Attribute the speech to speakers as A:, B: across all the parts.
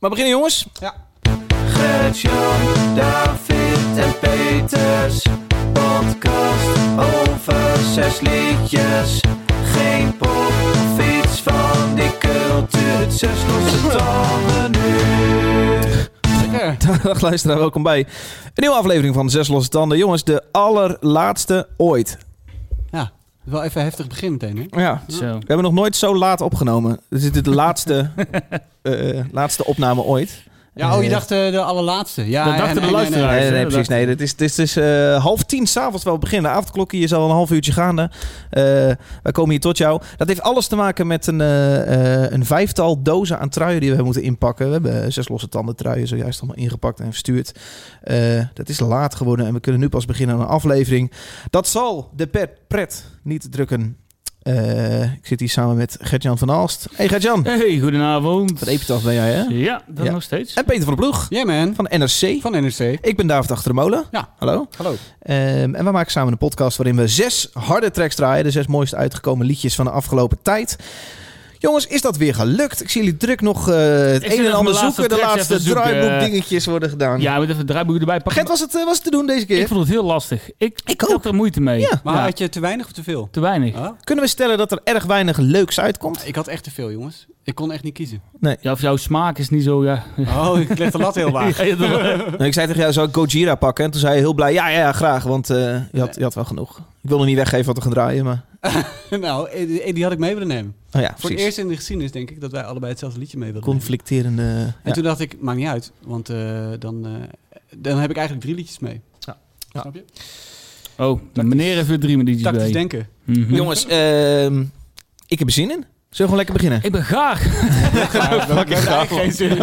A: Maar beginnen jongens.
B: Ja.
C: Gert-Jan, David en Peters. Podcast over zes liedjes. Geen pop, fiets van die cultuur. Zes losse tanden nu.
B: Lekker.
A: Dag luisteraar, welkom bij een nieuwe aflevering van Zes Losse Tanden. Jongens, de allerlaatste ooit.
B: Ja. Wel even heftig begin meteen, hè?
A: Ja.
D: Zo.
A: We hebben nog nooit zo laat opgenomen. Dit is de laatste, eh, laatste opname ooit.
B: Ja, oh, je
A: Eh,
B: dacht eh, de allerlaatste. Ja,
D: Dat dachten de luisteraars.
A: Nee, nee, nee,
D: hè,
A: precies.
D: dat-
A: Nee, het is, het is, het is eh, half tien s'avonds waar we beginnen. De avondklokje is al een half uurtje gaande. Eh, wij komen hier tot jou. Dat heeft alles te maken met een, eh, eh, een vijftal dozen aan truien die we moeten inpakken. We hebben eh, zes losse tanden truien zojuist allemaal ingepakt en verstuurd. Eh, dat is laat geworden en we kunnen nu pas beginnen aan een aflevering. Dat zal de pet, pret niet drukken. Eh, ik zit hier samen met Gert-Jan van Aalst. Hey Gert-Jan,
D: Hey, goedenavond.
A: wat epitaf ben jij hè?
D: Ja, dat
A: Ja.
D: nog steeds.
A: En Peter van der Ploeg
B: Ja, man.
A: van NRC.
B: Van NRC.
A: Ik ben David Achter de Molen.
B: Ja.
A: Hallo.
B: Hallo.
A: Ehm, en we maken samen een podcast waarin we zes harde tracks draaien. De zes mooiste uitgekomen liedjes van de afgelopen tijd. Jongens, is dat weer gelukt? Ik zie jullie druk nog eh, het
D: zit
A: een en
D: nog
A: ander
D: mijn laatste
A: zoeken. De
D: tracks
A: laatste
D: even te zoeken. eh.
A: draaiboekdingetjes worden gedaan.
D: Ja, met even het draaiboek erbij pakken.
A: Gert, was het, eh, was het te doen deze keer?
D: Ik vond het heel lastig. Ik,
A: Ik ook.
D: had er moeite mee.
A: Ja.
B: Maar
D: Ja,
B: had je te weinig of te veel?
D: te weinig.
B: Huh?
A: Kunnen we stellen dat er erg weinig leuks uitkomt?
B: Ik had echt te veel, jongens. Ik kon echt niet kiezen.
D: Ja, of jouw smaak is niet zo, ja.
B: Oh, ik leg de lat heel laag.
D: Ja, dat-
A: Nou, ik zei tegen jou, zou ik Gojira pakken? En toen zei je heel blij, ja, ja, ja, graag. Want eh, je, had, je had wel genoeg. Ik wilde niet weggeven wat we gaan draaien, maar...
B: nou, eh, die die had ik mee willen nemen.
A: Oh ja,
B: Voor het
A: precies.
B: eerst in de geschiedenis, denk ik, dat wij allebei hetzelfde liedje mee wilden nemen.
A: Conflicterende...
B: En toen dacht ik, maakt niet uit, want eh, dan, eh, dan heb ik eigenlijk drie liedjes mee.
D: Ja.
B: Snap je?
D: Oh, de meneer heeft weer drie minuutjes
B: Tactisch
D: bij.
B: denken.
D: Mhm.
A: Ja. Jongens, ehm, ik heb er zin in. Zullen we gewoon lekker beginnen?
D: Ik ben gaar.
B: Fucking graag. Geen zin in.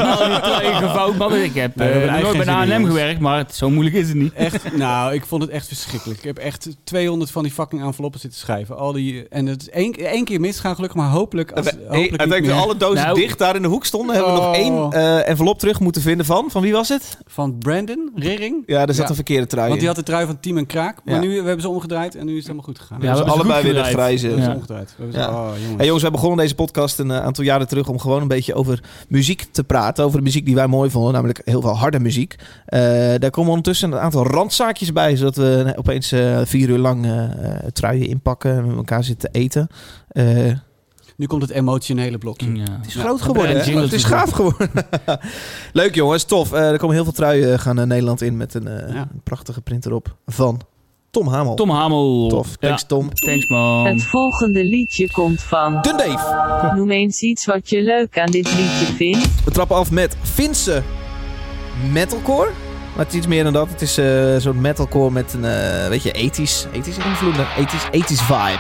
D: Ingevouwd, man. Ik heb
B: Nee, we hebben
D: eh,
B: eigenlijk geen
D: nooit bij
B: zin in,
D: A&M
B: jongens.
D: gewerkt, maar het- zo moeilijk is het niet.
B: Echt, nou, ik vond het echt verschrikkelijk. Ik heb echt 200 van die fucking enveloppen zitten schrijven. Al die, en het is één, één keer misgaan gelukkig, maar hopelijk, als, hopelijk niet
A: Uiteindelijk
B: meer.
A: alle dozen
D: Nou.
A: dicht daar in de hoek stonden. Hebben we nog
B: Oh.
A: één eh, envelop terug moeten vinden van. Van wie was het?
B: Van Brandon Rering.
A: Ah, Ja, er zat
B: Ja.
A: een verkeerde trui
B: Want die
A: in.
B: had de trui van Team en Kraak. Maar
A: Ja.
B: nu we hebben ze omgedraaid en nu is het helemaal goed gegaan.
D: Ja,
A: Dus
D: we hebben ze
A: allebei
D: goed
A: weer de
D: gedraaid.
A: grijze.
B: we hebben ze
D: Ja.
B: omgedraaid. We hebben ze,
A: Ja.
B: oh, jongens.
A: Hey jongens, wij begonnen deze podcast een eh, aantal jaren terug om gewoon een beetje over muziek te praten. Over de muziek die wij mooi vonden, namelijk heel veel harde muziek. Eh, daar komen ondertussen een aantal randzaakjes bij, zodat we eh, opeens eh, vier uur lang eh, eh, truien inpakken en met elkaar zitten eten. Eh,
B: Nu komt het emotionele blokje.
D: Ja.
A: Het is
B: Ja,
A: groot
D: we hebben
A: geworden.
D: een
A: hè?
D: jingle
A: Het is
D: voor.
A: gaaf geworden. Leuk jongens, tof. Eh, er komen heel veel truien gaan naar Nederland in met een, eh,
B: Ja.
A: een prachtige print erop van Tom Hamel.
D: Tom Hamel.
A: Tof. Thanks
D: Ja.
A: Tom.
D: Thanks, man.
E: Het volgende liedje komt van.
A: Dun Dave.
E: Noem eens iets wat je leuk aan dit liedje vindt.
A: We trappen af met Finse metalcore. Maar het is iets meer dan dat. Het is eh, zo'n metalcore met een eh beetje ethisch, ethisch invloeden. Ethisch, ethisch vibe.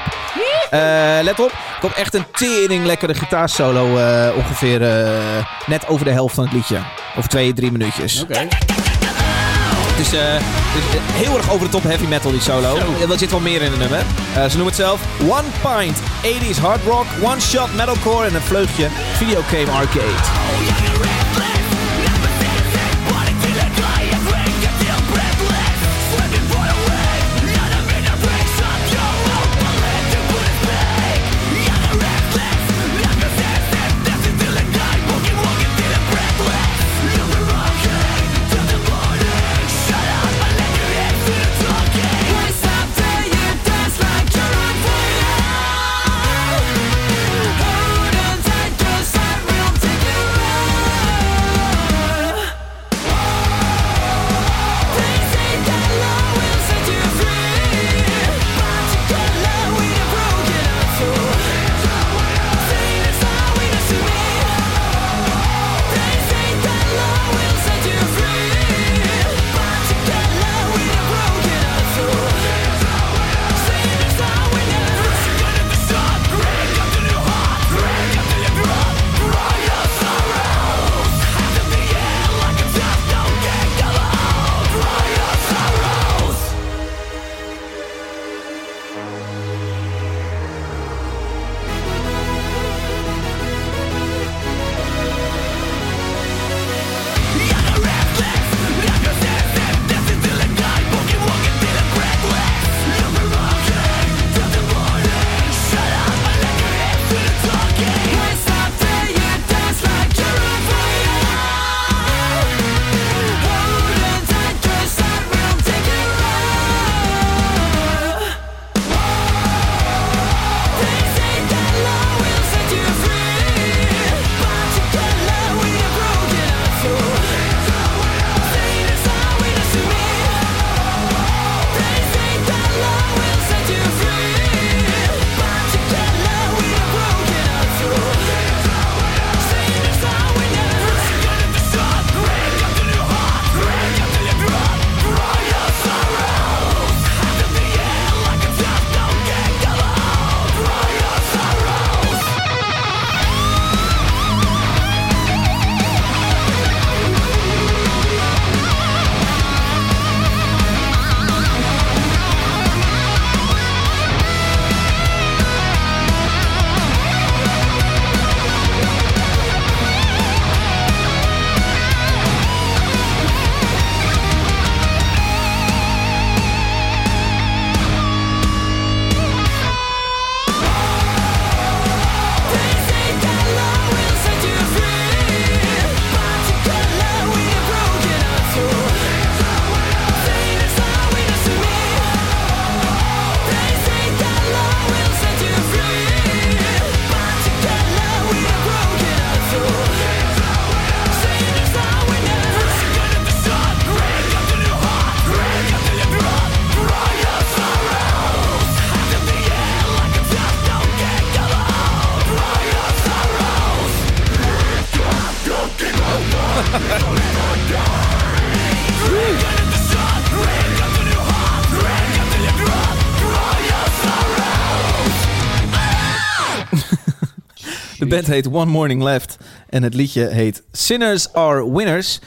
A: Eh, let op, er komt echt een tering lekkere gitaarsolo eh, ongeveer eh, net over de helft van het liedje. Over twee, drie minuutjes.
B: Oké.
A: Het is, eh, het is, eh, heel erg over de top heavy metal, die solo. Er zit wel meer in het nummer. Eh, ze noemen het zelf One Pint 80s Hard Rock, One Shot Metalcore en een vleugje Videogame Arcade.
F: Hold on tight, cause I will take you out.
A: De band heet One Morning Left en het liedje heet Sinners Are Winners.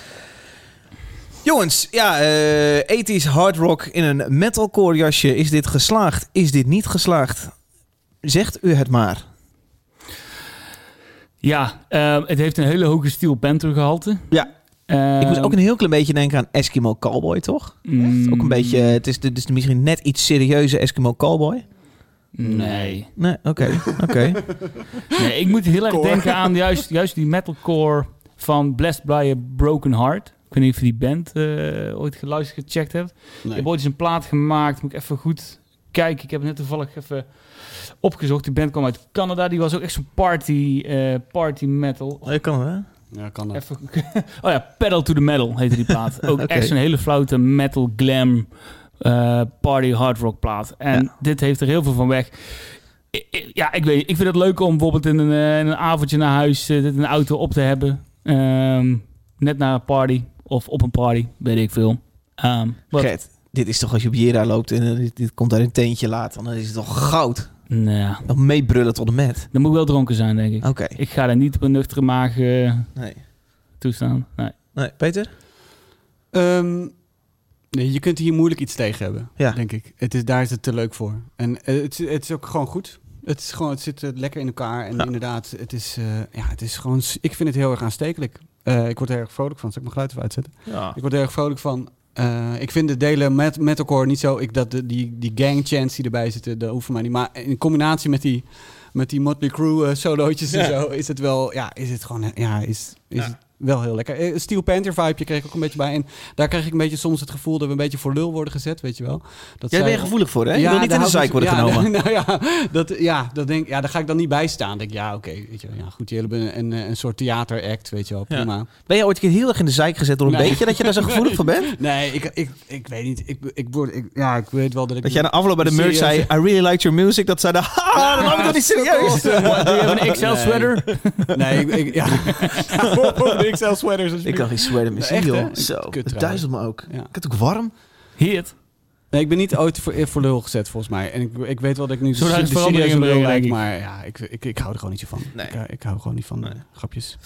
A: Jongens, ja, eh 80s hard rock in een metalcore jasje. Is dit geslaagd? Is dit niet geslaagd? Zegt u het maar.
D: Ja, eh, het heeft een hele hoge steel panther gehalte.
A: Ja.
D: Eh,
A: Ik moest ook een heel klein beetje denken aan Eskimo Cowboy, toch?
D: mm,
A: Ook een beetje, eh, het is, het is misschien net iets serieuze Eskimo Cowboy.
D: Nee.
A: Nee, oké, oké.
D: nee. Ik moet heel erg
B: Core.
D: denken aan juist, juist die metalcore van Blessed by a Broken Heart. Ik weet niet of je die band eh, ooit geluisterd, gecheckt hebt. Ik
B: Nee.
D: heb ooit eens een plaat gemaakt. Moet ik even goed kijken. Ik heb het net toevallig even opgezocht. Die band kwam uit Canada. Die was ook echt zo'n party, eh, party metal.
A: Dat kan wel.
B: Ja, kan dat.
D: Even, oh ja, Pedal to the Metal heette die plaat. Ook
A: Oké.
D: echt zo'n hele floute metal glam eh, party hard rock plaat. En dit heeft er heel veel van weg. I- I- Ja, ik weet Ik vind het leuk om bijvoorbeeld in een, eh, in een avondje naar huis eh, dit in een auto op te hebben. Ehm, net naar een party of op een party, weet ik veel. Ehm, wat-
A: Gert, dit is toch als je op Jera loopt en eh, dit, dit komt uit een teentje later, dan is het toch goud.
D: nou ja,
A: Dan meebrullen tot de met.
D: dan moet ik wel dronken zijn, denk ik.
A: Oké,
D: Ik ga daar niet op een nuchtere maag eh,
A: nee.
D: toestaan. Nee.
A: nee. Peter?
B: Ehm, nee, je kunt hier moeilijk iets tegen hebben,
A: Ja.
B: denk ik. Het is, daar is het te leuk voor. En eh, het, is- het is ook gewoon goed. Het, is gewoon, het zit eh, lekker in elkaar. En
A: Ja.
B: inderdaad, het is, eh, ja, het is gewoon... s- Ik vind het heel erg aanstekelijk. Eh, ik word er erg vrolijk van. Zal ik mijn geluid even uitzetten?
A: Ja.
B: Ik word er erg vrolijk van. Eh, ik vind de delen met metalcore niet zo... Ik, dat de, die, die gang chants die erbij zitten, dat hoeven mij niet. Maar in combinaatje met die, met die Motley Crue eh, solootjes en zo... is het wel... Ja, is het gewoon... eh, Ja, is, is het wel heel lekker. Eh, Steel Panther vibe kreeg ik ook een beetje bij. En daar krijg ik een beetje soms het gevoel... dat we een beetje voor lul worden gezet, weet je wel. Dat
A: Jij
B: zij-
A: bent er gevoelig voor, hè? je wil niet
B: daar
A: in de
B: hou
A: zeik
B: ik
A: worden
B: niet-
A: genomen.
B: ja, nou ja, dat, ja, dat denk, ja, daar ga ik dan niet bij staan. Denk ik, ja, oké. weet je wel, ja, goed, jullie hebben een, een, een soort theateract, weet je wel.
A: Ja.
B: Prima.
A: Ben je ooit een keer heel erg in de zeik gezet door een
B: Nee.
A: beetje dat je daar zo gevoelig voor bent?
B: Nee, ik, ik, ik weet niet. Ik, ik, word, ik, ja, ik weet wel dat ik...
A: Dat jij na afloop bij de merch zei, I really liked your music. Dat zij dan, haha, Ah, dat nam ik toch niet serieus.
D: Do you have an XL
B: eh, Nee.
D: sweater?
B: Nee, ik... ik ja. de XL sweaters.
A: Ik kan geen sweater meer zien,
B: Echt, hè?
A: joh. Zo,
B: Kut
A: het
B: trouwens.
A: duizelt me ook.
B: Ja.
A: Ik had ook warm.
D: Heet.
B: Nee, ik ben niet ooit voor, voor lul gezet, volgens mij. En ik, ik weet wel dat ik nu
D: Zullen we
B: de,
D: daar
B: de
D: eens verandering
B: serieuze
D: in
B: lul
D: brengen,
B: lijk,
D: denk ik?
B: maar ja, ik, ik, ik hou er gewoon niet zo van.
A: Nee.
B: Ik, eh, ik hou gewoon niet van eh,
A: Nee.
B: grapjes.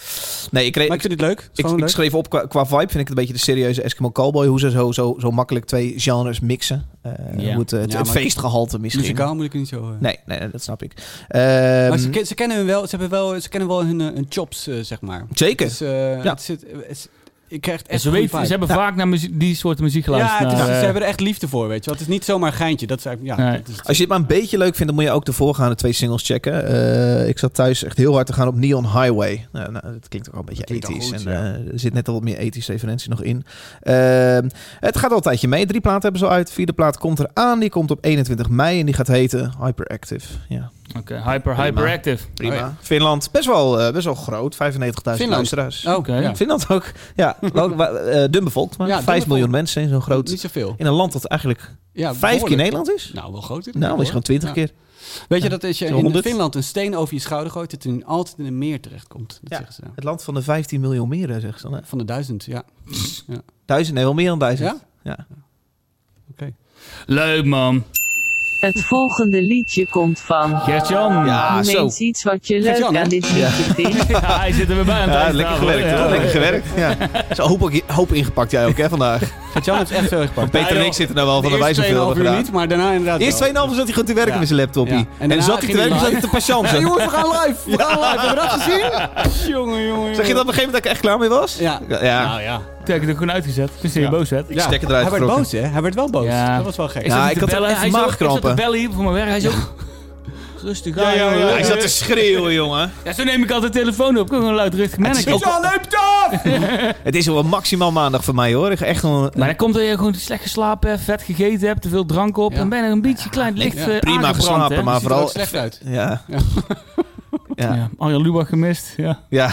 A: Nee, ik,
B: Maar
A: kreeg,
B: ik vind het leuk. Het is
A: ik,
B: gewoon
A: ik
B: leuk.
A: schreef op qua, qua vibe vind ik het een beetje de serieuze Eskimo Cowboy. Hoe ze zo, zo, zo makkelijk twee genres mixen. Eh,
D: Ja.
A: hoe het, het,
B: Ja,
A: het
B: maar-
A: feestgehalte misschien.
B: Muzikaal moet ik het niet zo... eh.
A: Nee, nee, dat snap ik.
B: Maar
A: Ehm,
B: ze, ken- ze kennen hun wel, ze hebben wel, ze kennen wel hun, eh, hun chops, eh, zeg maar.
A: zeker.
B: Dus, eh,
A: Ja.
B: het zit, eh, het is- ik krijg het
D: En
B: echt
D: ze,
B: een goede
D: weten,
B: vibe.
D: ze hebben vaak naar muziek, die soorten muziek
B: Ja,
D: geluisterd.
B: het is-
D: naar,
B: ze
D: eh,
B: hebben er echt liefde voor, weet je wel. Het is niet zomaar geintje. Dat is eigenlijk, ja,
D: Nee.
B: dat is-
A: Als je dit maar een beetje leuk vindt, dan moet je ook de voorgaande twee singles checken. Eh, ik zat thuis echt heel hard te gaan op Neon Highway. Nou, nou, dat klinkt ook al een beetje
B: Dat klinkt al
A: ethisch.
B: goed,
A: en, eh, er zit net al wat meer ethische referentie nog in. Ehm, het gaat al een tijdje mee. Drie platen hebben ze al uit. Vierde plaat komt eraan. Die komt op 21 mei en die gaat heten Hyperactive. Ja,
D: Oké, hyper, hyperactive.
A: prima.
B: Oh ja.
A: Finland, best wel, eh, best wel groot. 95.000
B: Finland.
A: luisteraars.
B: Oh,
D: Oké.
B: ja.
A: Finland ook. Ja, wel, wa- eh, dun bevolkt. Maar
B: Ja,
A: 5
B: dun bevolkt.
A: miljoen mensen in zo'n groot...
B: Niet zoveel.
A: In een land dat eigenlijk
B: Ja,
A: vijf keer
B: behoorlijk.
A: Nederland is.
B: Nou, wel groot.
A: Nou, dat is gewoon 20 keer.
B: Weet je dat als je
A: Zo'n
B: in
A: 100?
B: Finland een steen over je schouder gooit, dat het altijd in een meer terechtkomt? Dat
A: Ja.
B: zeggen ze. nou.
A: Het land van de 15 miljoen meren, zeggen ze dan. hè?
B: Van de duizend, ja.
A: Duizend, nee, wel meer dan duizend.
B: Ja?
A: Ja.
D: Leuk man.
E: Het volgende liedje komt van.
D: Gert-Jan.
A: Ja,
E: Noem
A: Ah, zo.
E: eens iets wat je leuk
B: Gert-Jan, hè?
E: aan dit liedje vindt.
D: Ja, hij zit er weer bij aan het
A: Ja,
D: eind
A: lekker
B: nou,
A: gewerkt,
D: vanavond, hè?
A: hoor. Lekker gewerkt. Ja. Zo hoop, ook- hoop ingepakt jij ook, hè, vandaag.
B: Jan heeft echt veel gepakt.
A: Peter en ik zitten nou wel van de
B: De
A: wijze
B: eerste 2,5
A: veel
B: uur
A: gedaan.
B: niet, maar daarna inderdaad
A: Eerst 2,5
B: wel.
A: zat hij goed te werken
B: Ja.
A: met zijn laptopje.
B: Ja. En
A: En,
B: daarna
A: zat hij te
B: ging hij
A: werken, zat hij te
B: live.
A: patiënten.
B: Ja, jongens, we gaan live. We gaan live. Hebben we dat gezien? Jongen, jongen,
A: Zeg je dat op een gegeven moment dat ik er echt klaar mee was?
B: Ja.
A: Ja, ja.
B: Nou ja.
D: Ik heb het er gewoon uitgezet. Toen je
B: Ja.
D: boos werd.
A: ik stek eruit
B: Hij werd
A: getrokken.
B: boos, hè? Hij werd wel boos.
D: Ja.
B: Dat was wel gek.
A: Ja,
D: zat
A: ik
D: te
A: had echt
D: Hij zat-
A: maagkrampen.
D: Ik zat te bellen hier voor mijn werk. Hij is ook... Rustig aan,
B: ja, ja.
D: jongen.
A: Hij zat te schreeuwen, jongen.
D: Ja, zo neem ik altijd de telefoon op. Ik heb een luidruchtig mannetje.
A: ook- Het is wel een maximaal maandag voor mij, hoor. Ik ga echt gewoon...
D: Maar dan komt dat je gewoon slecht geslapen hebt, vet gegeten hebt, te veel drank op.
B: Ja.
D: En bijna een beetje klein licht
B: Ja.
D: eh,
A: Prima
D: aangebrand,
A: geslapen,
D: hè. Dus
A: maar
B: Ziet er
A: vooral-
B: ook slecht uit.
A: Ja.
B: Ja.
A: ja.
D: Ja, Arjan Lubach gemist. Ja.
A: Ja,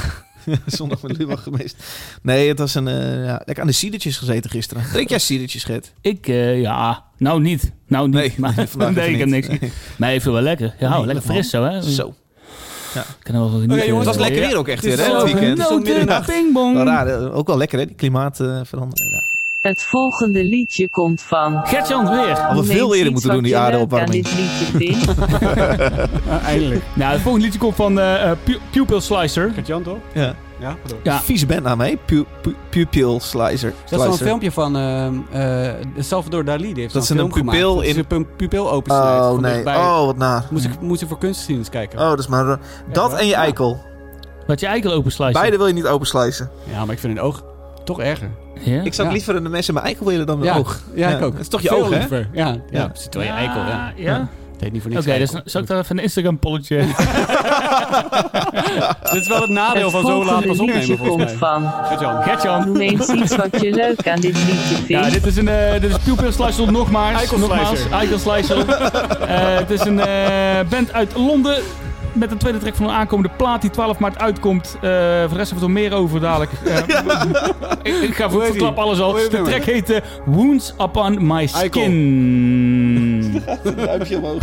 A: zondag met Lubach geweest. Nee, het was een... eh, ja, lekker aan de sidertjes gezeten gisteren. Drink jij sidertjes, Gert?
D: Ik, eh, ja, nou niet. Nou niet.
A: Nee,
D: maar
A: vandaag
D: nee, ik
A: even
D: heb
A: niet.
D: niks. Maar even wel lekker. Ja,
A: Nee,
D: lekker
A: lekker
D: fris zo, hè?
A: Zo. Ja.
D: Ik kan er wel van genieten. Nou,
B: jongens,
A: Het was lekker weer ook echt weer, hè? Het weekend.
B: zo midden in de
D: No,
B: nacht.
A: Wel
D: pingbong.
A: raar, hè? ook wel lekker, hè? Die klimaatverandering. Ja.
E: Het volgende liedje komt van.
D: Gertjan weer.
A: Hadden we veel eerder moeten doen, die aardeopwarming.
E: Ik dit liedje vindt.
B: eindelijk.
D: Nou, het volgende liedje komt van eh eh, Pu- Pupil Slicer.
B: Gaat Jan toch?
A: Ja.
B: Ja, pardon.
D: Ja.
A: Vieze bandnaam, hè? Pu- pu- Pupil Slicer.
B: Dat is zo'n
A: Slicer.
B: filmpje van ehm, eh, Salvador Dali. Die heeft
A: Dat
B: zo'n
A: ze een
B: film gemaakt.
A: pupil
B: Dat ze
A: in-
B: een pupil opensnijdt.
A: Oh,
B: van
A: nee.
B: dichtbij.
A: Oh, wat na.
B: Moest ik, moest ik voor kunstgeschiedenis kijken.
A: Oh, dat is maar... Dat
B: waar?
A: en je
B: Ja.
A: eikel.
D: Wat je eikel open slicer.
A: Beide wil je niet openslijzen.
B: Ja, maar ik vind een oog toch erger.
D: Ja?
A: Ik zou
B: Ja.
A: liever een mes in mijn eikel willen dan mijn
B: ja,
A: oog.
B: Ja, ik
A: Ja,
B: ook.
A: het is toch je
B: Veel
A: oog, hè?
B: liever. Ja, ja.
A: Ja.
B: precies. Terwijl je eikel, ja.
D: Ja. ja.
B: Het heet niet voor
D: Oké,
B: niks
D: dus
B: eikel.
D: zal ik daar even een Instagram-polletje...
B: Dit is wel het nadeel
E: Het
B: van zo laat
E: volgende
B: pas
E: liedje
B: opnemen,
E: komt
B: volgens mij.
E: van.
B: Gert-Jan.
D: Gertjan.
E: Noem eens iets wat je leuk aan dit liedje
D: Ja,
E: vindt.
D: dit is een eh dit is Pupil Slicer nogmaals.
B: Eikel
D: nogmaals.
B: Slicer.
D: Eikel Slicer. Eh, het is een eh, band uit Londen. Met een tweede track van een aankomende plaat die 12 maart uitkomt. Eh, voor de rest hebben we het er meer over dadelijk. Eh, ik, ik ga
B: Hoe
D: voor
B: heet
D: verklap
B: die?
D: alles al.
B: Hoe heet
D: De
B: die?
D: track heet eh, Wounds Upon My
B: Eikel.
D: Skin.
A: Duimpje omhoog.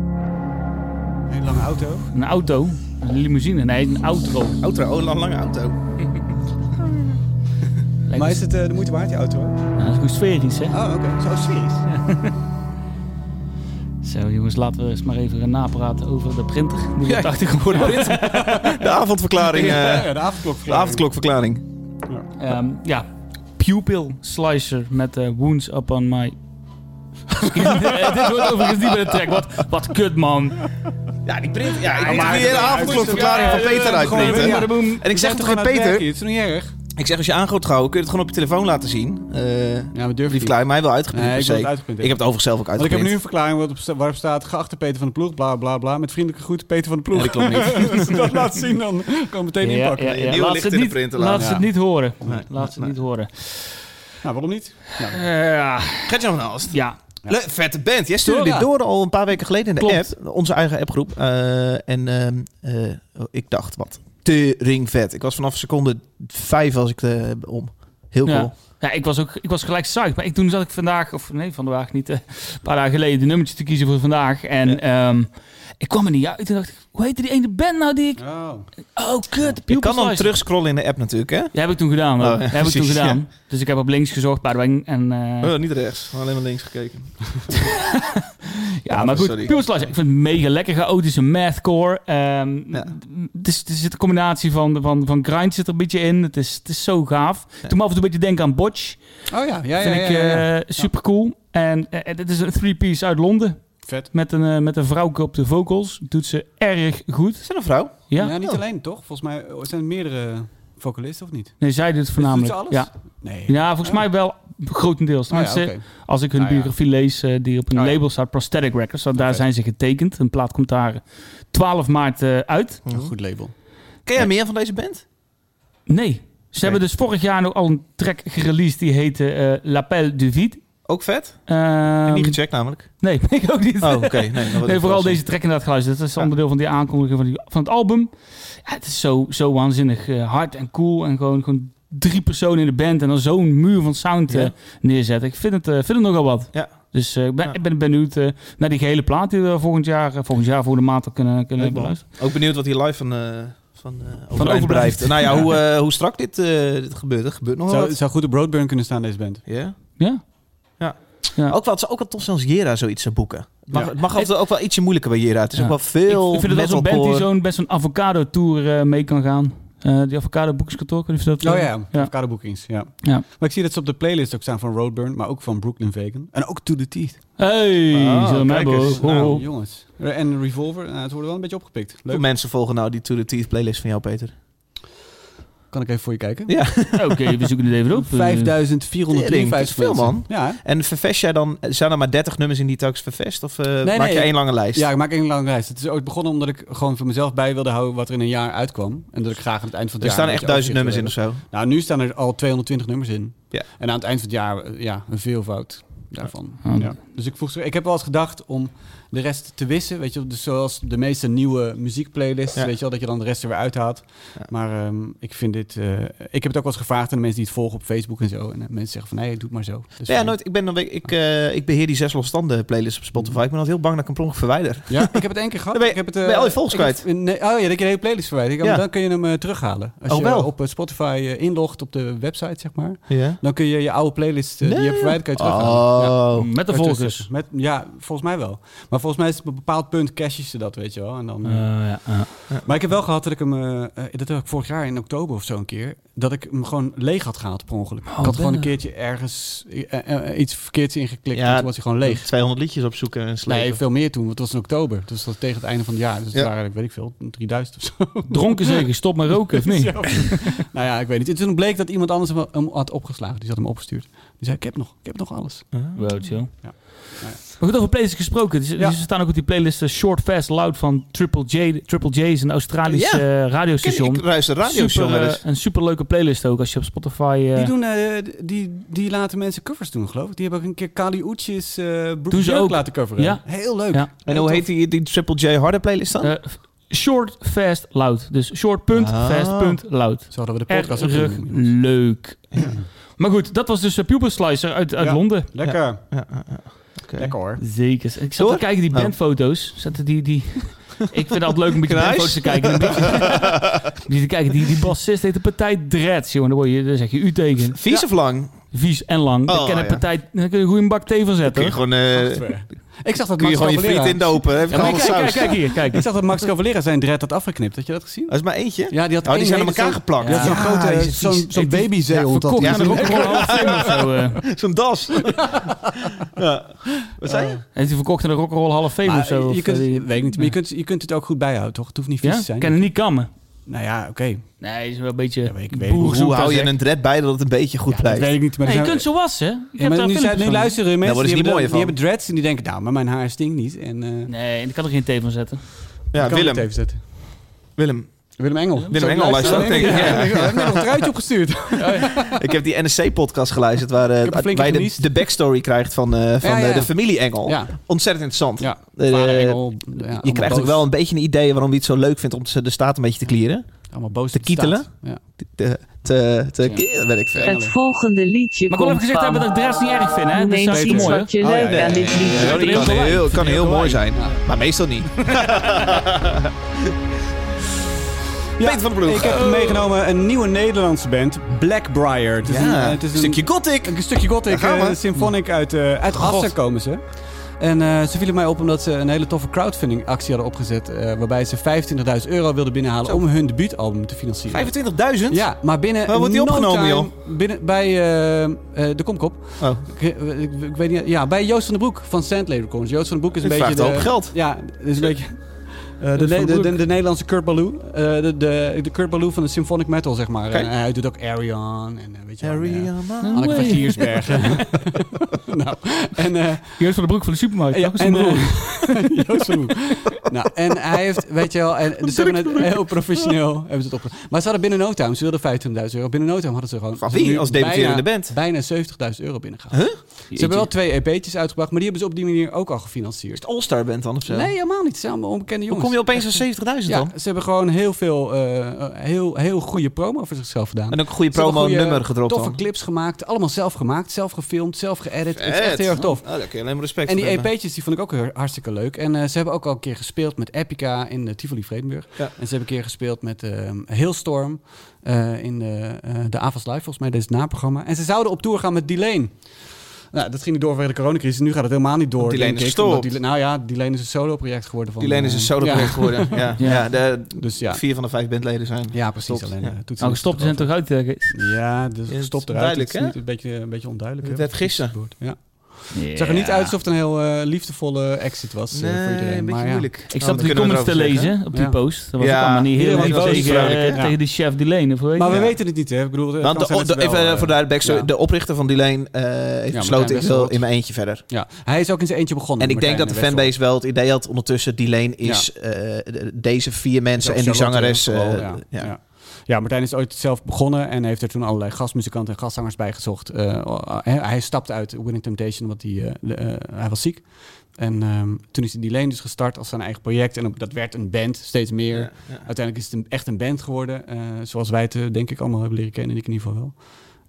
B: Een hele lange auto.
D: Een auto. Een limousine. Nee, een outro.
A: Auto, oh, lang, lange auto.
D: Lijkt
B: Maar
D: me-
B: is het eh, de moeite waard, die auto?
D: Nou, dat is goed sferisch, hè?
B: Oh, oké. Zo serieus.
D: Zo, jongens, laten we eens maar even gaan napraten over de printer. Moet je
A: Ja.
D: op de achtergrond horen?
A: De avondverklaring. eh,
B: de avondklok.
A: de avondklokverklaring.
D: Ehm, ja, Pupil Slicer met eh, Wounds Upon My... Skin. Eh, Dit wordt overigens niet bij de track. Wat, wat kut, man.
A: Ja, die print. Ja, ik
B: maar
A: moet
B: het
A: die hele
B: is-
A: avondklokverklaring
D: ja,
A: van
D: ja,
A: Peter
D: ja,
A: uitprinten.
D: gewoon-
A: En ik zeg toch geen Peter?
B: Het is niet erg.
A: Ik zeg, als je aan gaat houden, kun je het gewoon op je telefoon laten zien. Eh
B: Ja, we durven
A: brief
B: niet.
A: klaar, maar hij wil uitgeprint.
B: Nee, ik
A: per
B: wil
A: se.
B: het uitgeprint
A: Ik heb het overigens zelf ook
B: Want ik heb
A: uitgeprint.
B: nu een verklaring waarop sta- waarop staat... geachte Peter van de Ploeg, bla bla bla... met vriendelijke groet Peter van de Ploeg.
A: Ja, dat klopt
B: Als ik dat laat zien, dan kan ik meteen inpakken.
A: ja. Nieuwe
D: Laat
A: licht
D: ze
A: in de
D: niet-
A: printer
D: Laat
A: laten.
D: ze het niet horen.
A: Nee,
D: Laat ze het
A: nee.
D: niet horen.
B: Nou, waarom niet? Nou,
D: Eh, ja.
A: Gaat je nog naast?
D: Ja.
A: Le- vette band. Jij stuurde
B: Dora.
A: dit door al een paar weken geleden in de
D: Klopt.
A: app. Onze eigen appgroep. Eh, en ehm, eh, oh, ik dacht, wat tering vet. Ik was vanaf seconde vijf als ik eh, om. Heel
D: Ja.
A: cool.
D: Ja, ik was ook ik was gelijk psyched. Maar ik, toen zat ik vandaag, of nee, vandaag niet, eh, een paar dagen geleden, de nummertje te kiezen voor vandaag. En ehm, ik kwam er niet uit. Toen dacht ik, hoe heette die ene band nou die ik...
B: oh.
D: Oh, kut.
A: Je kan dan
D: Pupil Slice.
A: terugscrollen in de app natuurlijk, hè?
D: Ja, heb ik toen gedaan. hoor.
A: Oh, ja,
D: heb ik toen
A: precies,
D: gedaan. Dus ik heb op links gezocht, Paardenweng. En, eh,
A: Oh, niet rechts, alleen maar links gekeken.
D: ja,
A: ja,
D: maar goed,
A: sorry.
D: Pupil Slice. Ik vind het mega lekker chaotische mathcore. Ehm
A: Ja.
D: het is- Er zit een combinatie van, van, van grind zit er een beetje in. Het is, het is zo gaaf. Toen me af en toe een beetje denken aan Botch.
B: oh ja, ja, ja.
D: vind
B: ja,
D: ik eh,
B: ja, ja.
D: super cool. En eh, dit is een three-piece uit Londen.
B: Vet.
D: Met een, eh, met een vrouwke op de vocals. Doet ze erg goed.
A: Is dat een vrouw?
D: Ja.
B: Nou, niet
A: Oh.
B: alleen, toch? Volgens mij eh, zijn er meerdere vocalisten, of niet?
D: Nee, zij doet het voornamelijk.
B: Doet ze alles?
D: Ja.
B: Nee.
D: ja, volgens mij wel grotendeels.
B: Oh, ja,
D: Tenminste,
B: oké.
D: Als ik hun
B: Ah, ja.
D: biografie lees, eh, die op een
B: Ah, ja.
D: label staat, Prosthetic Records. Want daar
B: Oké.
D: zijn ze getekend. Een plaat komt daar 12 maart eh, uit.
B: Een goed label.
A: Ken jij meer van deze band?
D: Nee. Ze hebben dus vorig jaar nog al een track gereleased. Die heette eh L'Appel du Vide.
A: Ook vet?
D: Ehm,
A: niet gecheckt namelijk.
D: nee, ik ook niet.
A: Oh, oké. Nee, dan
D: Nee, vooral deze track inderdaad geluisterd. Dat is
A: Ja.
D: onderdeel van die aankondiging van, die, van het album. Ja, het is zo, zo waanzinnig eh, hard en cool. En gewoon, gewoon drie personen in de band en dan zo'n muur van sound eh,
A: Ja.
D: neerzetten. Ik vind het, eh, vind het nogal wat.
A: Ja.
D: Dus eh, ik, ben,
A: Ja.
D: ik ben benieuwd eh, naar die gehele plaat die we volgend jaar, eh, volgend jaar voor de maand al kunnen, kunnen
A: Leuk, man.
D: beluisteren.
A: Ook benieuwd wat hier live van, eh van, eh,
D: overblijft.
A: overeind blijft. Nou ja, hoe, eh, hoe strak dit, eh, dit gebeurt. Er gebeurt nog wel
B: Zou,
A: wat.
B: zou goed op Roadburn kunnen staan, deze band.
A: Ja.
D: Ja. Ja.
A: Ook wel, het is ook wel tof als Jera zoiets zou boeken. Het mag,
D: Ja.
A: het mag altijd ook wel ietsje moeilijker bij Jera. Het is
D: Ja.
A: ook wel
D: Ik,
A: veel
D: ik vind het wel zo'n band die
A: metalcore.
D: zo'n best zo'n avocado-tour eh, mee kan gaan. Eh, die avocado-boekskantoor, kun je dat eh,
B: Oh ja,
D: Ja.
B: ja. Avocado Bookings, ja.
D: Ja.
B: Maar ik zie dat ze op de playlist ook staan van Roadburn, maar ook van Brooklyn Vegan. En ook To The Teeth.
D: Hey,
A: Ah,
D: zullen we hem
A: kijk
D: hebben,
A: eens.
D: hoor.
A: Nou,
D: Ho, ho.
B: Jongens. En Revolver, nou, het wordt wel een beetje opgepikt. Leuk.
A: Hoeveel mensen volgen nou die To The Teeth playlist van jou, Peter?
B: Kan ik even voor je kijken?
A: Ja.
D: Oké, we zoeken het even op.
B: 5453
A: Dat is veel,
B: mensen.
A: man.
B: Ja, hè?
A: En vervest jij dan... Zijn er maar 30 nummers in die telkens vervest? Of eh, maak je
B: nee.
A: één lange lijst?
B: ja, ik maak één lange reis. Het is ooit begonnen omdat ik gewoon voor mezelf bij wilde houden wat er in een jaar uitkwam. En dat ik graag aan het eind van het
A: er
B: jaar...
A: staan
B: een
A: echt
B: beetje
A: duizend nummers in of
B: overzicht
A: zo.
B: wil hebben. Nou, nu staan er al 220 nummers in.
A: Ja.
B: En aan het eind van het jaar, eh, ja, een veelvoud daarvan.
D: Ja.
B: Ja. Dus ik, vroeg, ze- ik heb wel eens gedacht om de rest te wissen. Weet je, dus zoals de meeste nieuwe muziekplaylists,
A: Ja.
B: weet je wel, dat je dan de rest er weer uithaalt.
A: Ja.
B: Maar ehm, ik vind dit... eh, ik heb het ook wel eens gevraagd aan de mensen die het volgen op Facebook en zo. En eh, mensen zeggen van, nee, doe het maar zo. Dus
A: Ja,
B: van-
A: nooit. Ik, ben, dan- ik, eh, ik beheer die zes losstanden playlist op Spotify. Ik ben altijd heel bang dat ik een plonk verwijder.
B: Ja, ik heb het één keer gehad.
A: Dan ben je-
B: ik heb het,
A: ben
B: eh,
A: je al je volgers
B: ik heb- nee, oh ja, dat je de hele playlist verwijderd. Ik-
A: Ja.
B: Dan kun je hem eh, terughalen. Als
A: Oh,
B: je
A: wel?
B: op eh, Spotify eh, inlogt op de website, zeg maar.
A: Ja.
B: Dan kun je je oude playlist eh, die je hebt verwijderd, kun je terughalen. Ja.
A: Oh.
D: Eh, Met de
B: Kun je
D: volgers.
B: terugzetten. Met, ja, volgens mij wel. Maar volgens mij is het op een bepaald punt cache ze dat, weet je wel. En dan, eh, Maar ik heb wel gehad dat ik hem, eh, eh, dat heb ik vorig jaar in oktober of zo een keer, dat ik hem gewoon leeg had gehaald per ongeluk. ik had gewoon
D: binnen.
B: een keertje ergens eh, eh, iets verkeerds ingeklikt
A: Ja,
B: en toen was hij gewoon leeg.
A: 200 liedjes opzoeken en slepen.
B: Nee, veel meer toen, want het was in oktober. Dus dat was tegen het einde van het jaar. Dus het
A: Ja.
B: waren, ik weet ik veel, 3000 of zo.
D: Dronken zeggen, stop met roken, of niet?
B: Ja. nou ja, ik weet niet. En toen bleek dat iemand anders hem- hem had opgeslagen. Die had hem opgestuurd. Die zei, ik heb nog, ik heb nog alles.
D: Wow, chill.
B: Ja.
D: Maar goed, over playlists gesproken. Ze
B: Ja.
D: ze staan ook op die playlist eh, Short, Fast, Loud van Triple J. Triple J is een Australisch
A: Ja.
D: eh,
A: Ken je-
D: radiostation.
A: Ik ruis de radio
D: super, eh, een super leuke playlist ook als je op Spotify... eh,
B: Die, doen, eh, d- die, die laten mensen covers doen, geloof ik. Die hebben ook een keer Kali Uchis eh Brooke
D: Doen ze
B: Björk
D: ook.
B: laten coveren.
D: Ja.
B: Heel leuk.
D: Ja.
A: en hoe heet die, die Triple J harde playlist dan?
D: eh, f- short, Fast, Loud. Dus short, punt,
A: Ah.
D: fast, punt, loud.
B: Zo hadden we de podcast ook
D: Erg
B: kunnen doen.
D: leuk. Maar goed, dat was dus eh, Pupil Slicer uit, uit
B: Ja.
D: Londen.
B: Lekker.
A: Ja, ja, ja. Oké.
B: Lekker hoor.
D: Zeker. Ik zat
A: Door?
D: te kijken die
A: Oh.
D: bandfoto's. Zetten die, die... Ik vind het altijd leuk om een beetje
A: Knijs?
D: bandfoto's te kijken. Een beetje- die, te kijken. Die, die bassist heet de partij Dreads, jongen. Daar, word je, daar zeg je u tegen.
A: Vies of lang?
D: Vies en lang. daar
A: Oh,
D: ken ik
A: ja.
D: partij, daar kun je een goede bak thee van
A: Kun
D: zetten.
A: je
D: hoor.
A: gewoon eh,
B: Software. Ik zag dat
A: kun je
B: Max
A: gewoon je friet
B: Cavalera...
A: indopen. Heb je
D: Ja, maar
A: gewoon
D: kijk, kijk,
A: saus.
D: kijk hier, kijk.
B: Ik zag dat Max Cavalera zijn dread had afgeknipt. Had je dat gezien?
A: Dat is maar eentje.
B: Ja, die had
A: Oh, die
B: één
A: zijn aan
B: hele
A: elkaar
B: zo'n-
A: geplakt.
B: die had zo'n
A: Ja,
B: grote
A: die is
B: zo'n
A: vies.
B: zo'n
A: Ja,
B: babyzeehond. had
D: Verkocht
B: die.
A: Ja,
D: ja,
A: dat
D: ook
A: is
D: voor een half film of zo. eh.
A: Zo'n das. ja. Wat zei je?
B: Eh,
D: En die verkocht een rock'n'roll half fame
B: Maar
D: of zo.
B: Je
D: of,
B: kunt,
D: eh,
B: weet ik niet, maar je kunt, je kunt het ook goed bijhouden, toch? Het hoeft niet vies
D: ja?
B: te zijn.
D: kan het niet kammen.
B: Nou ja, oké.
D: Nee, is wel een beetje
B: Ja, maar ik weet-
D: boer
A: Hoe,
D: zoekt
A: hoe hou
D: als
A: je
D: ik.
A: een dread bij dat het een beetje goed
B: Dat
A: blijft?
B: weet ik niet, maar
D: Nee,
B: er
D: je
B: zijn-
D: kunt zo wassen. Je
B: Ja, maar
D: hebt daar
B: nu, zijn,
D: filmpjes
B: nu
D: van.
B: luisteren mensen,
A: worden ze
B: die,
A: niet
B: hebben,
A: mooier van.
B: die hebben dreads en die denken, nou, maar mijn haar stinkt niet. En, eh,
D: Nee, ik kan er geen thee van zetten.
A: Ja,
B: kan het
A: Willem.
B: even zetten.
A: Willem.
B: Willem Engel.
A: Willem Engel luistert ook, denk ik. Ja.
B: Ja, ik heb net nog een truitje opgestuurd.
A: Ik heb die NSC-podcast geluisterd waar eh,
B: heb een flinke
A: waar je de,
B: gemist.
A: de backstory krijgt van, eh, van
B: Ja, ja,
A: eh,
B: ja.
A: de familie Engel.
B: Ja,
A: Ontzettend interessant.
B: ja.
A: Eh,
B: Vader Engel, ja, allemaal
A: je krijgt
B: boos.
A: ook wel een beetje een idee waarom hij het zo leuk vindt om ze de staat een beetje te klieren.
B: Allemaal boos
A: te
B: op de staat.
A: kietelen.
B: Ja.
A: Te, te, te
B: Ja.
A: kieren, weet ik veel.
E: Het volgende liedje
D: Maar ik wil even
E: komt
D: gezegd hebben
E: van.
D: dat ik de rest niet erg vind, hè? Dus
E: Neem
D: dat is
E: iets
D: mooi.
E: wat
B: Oh,
E: je
B: ja,
E: leuk
B: ja,
E: aan
B: ja,
E: dit
B: ja,
E: liedje
A: Ja, die
E: vindt.
A: kan heel, kan heel mooi zijn,
B: Ja.
A: maar meestal niet. Peter van de Ploeg.
B: Ik heb meegenomen een nieuwe Nederlandse band, Blackbriar. Het is een,
A: Ja,
B: eh,
A: een
B: het is
A: stukje gothic.
B: Een stukje
A: Daar
B: gothic,
A: gaan we.
B: eh, symphonic uit, eh uit Assen komen ze. En eh, ze vielen mij op omdat ze een hele toffe crowdfunding actie hadden opgezet. eh, waarbij ze 25.000 euro wilden binnenhalen om hun debuutalbum te financieren.
A: 25.000?
B: Ja, maar binnen
A: Waar wordt die
B: no
A: opgenomen,
B: time- Binnen, bij eh, eh, de Komkop.
A: Oh.
B: Ik, ik- ik- ik weet niet, ja, bij Joost van den Broek van Sandlay Records. Joost van den Broek is een
A: Die
B: beetje...
A: vraagt een
B: de-
A: hoop geld.
B: Ja, is een beetje... eh, de,
D: Van den
B: Ne- de,
D: Broek.
B: de, de Nederlandse Kurt Ballou. Eh, de, de, de Kurt Ballou van de symphonic metal, zeg maar.
A: Oké.
B: En hij doet ook Arion en eh, weet je wel, ja.
A: Ariana.
B: Anneke van
D: Nee.
B: Giersbergen. nou, en, eh,
D: Joost van de Broek van de supermarkt.
B: ja,
D: toch? Is
B: en,
D: een broer.
B: eh, Joost van den Broek. nou, en hij heeft, weet je wel, en, dus ze hebben het heel professioneel hebben ze het opge- Maar ze hadden binnen no time, ze wilden 15.000 euro. Binnen no time hadden ze gewoon...
A: Van
B: ze hebben
A: wie?
B: nu
A: Als debuterende
B: bijna-
A: band?
B: Bijna 70.000 euro binnengehaald. Ze hebben wel twee EP'tjes uitgebracht, maar die hebben ze op die manier ook al gefinancierd.
A: All-star band dan of zo?
B: Nee, helemaal niet. Ze zijn allemaal onbekende
A: Hoe
B: jongens.
A: kom je opeens aan 70.000
B: ja,
A: dan?
B: ze hebben gewoon heel veel, eh, eh, heel, heel goede promo voor zichzelf gedaan.
A: En ook een goede
B: Ze hebben goede,
A: promo-nummer gedropt
B: Toffe
A: dan?
B: clips gemaakt, allemaal zelf gemaakt, zelf gefilmd, zelf geëdit. Het is echt heel erg tof.
A: Oh, daar kun je alleen maar respect
B: En die E
A: voor hebben.
B: EP'tjes die vond ik ook heel- hartstikke leuk. En eh, ze hebben ook al een keer gespeeld met Epica in eh, Tivoli Vredenburg.
A: Ja.
B: En ze hebben een keer gespeeld met ehm Hailstorm eh, in de, eh de Avals Live, volgens mij, deze naprogramma. En ze zouden op tour gaan met Dileen. Nou, dat ging niet door vanwege de coronacrisis. Nu gaat het helemaal niet door.
A: Want Dileen
B: denk
A: is
B: ik,
A: gestopt.
B: omdat Dileen- nou ja, Dileen is een solo-project geworden. Van,
A: Die Leen is een
B: eh,
A: solo
B: ja.
A: project geworden. Ja,
D: Ja.
A: ja. de,
B: Dus ja.
A: vier van de vijf bandleden zijn.
B: Ja, precies.
A: Gestopt,
B: Alleen
A: ja.
B: eh, toetsen
D: Nou, gestopt
B: is
D: zijn
B: het
D: toch uit. eh, Kees?
B: erover. Ja, dus
A: Ja,
B: gestopt
A: het is
B: eruit.
A: duidelijk,
B: Het is
A: hè?
B: niet- een beetje, een beetje onduidelijk.
A: Het
B: hè,
A: werd gisteren.
B: wat er gebeurt. Ja. Het zag er niet uit alsof het een heel eh, liefdevolle exit was eh, voor
A: een
B: iedereen.
A: beetje
B: maar ja.
A: moeilijk.
D: Ik
A: Nou,
D: zat
A: dan
D: die
A: kunnen we
D: comments te
A: erover zeggen.
D: lezen op die
B: Ja.
D: post. Dat was
A: Ja.
D: ook allemaal niet heel
B: Iedereen was
D: erg tegen,
A: vrolijk, hè?
D: eh,
B: Ja.
D: tegen die chef Delaney. of hoe heet
B: Maar we
D: die?
B: weten het niet, hè? Ik bedoel,
A: Want de,
B: Frans
A: de-
B: heeft het
A: even
B: wel,
A: eh, voor de
B: eh,
A: backstory.
B: ja.
A: De oprichter van die lijn eh, heeft besloten, ik wil
B: Westerholt.
A: in mijn eentje verder.
B: Ja, hij is ook in zijn eentje begonnen.
A: En ik denk dat de
B: Martijn Westerholt.
A: fanbase wel het idee had ondertussen, die lane is eh, de- deze vier mensen en die
B: Charlotte
A: zangeres. eh,
B: vooral,
A: ja.
B: ja. Ja. Ja, Martijn is ooit zelf begonnen en heeft er toen allerlei gastmuzikanten en gastzangers bij gezocht. Eh, hij, hij stapte uit Winning Temptation, want hij, eh, de- eh, hij was ziek. En ehm, toen is hij die lane dus gestart als zijn eigen project. En op- dat werd een band, steeds meer.
A: Ja, ja.
B: Uiteindelijk is het een- echt een band geworden. eh, zoals wij het eh, denk ik allemaal hebben leren kennen. Ik in ieder geval wel.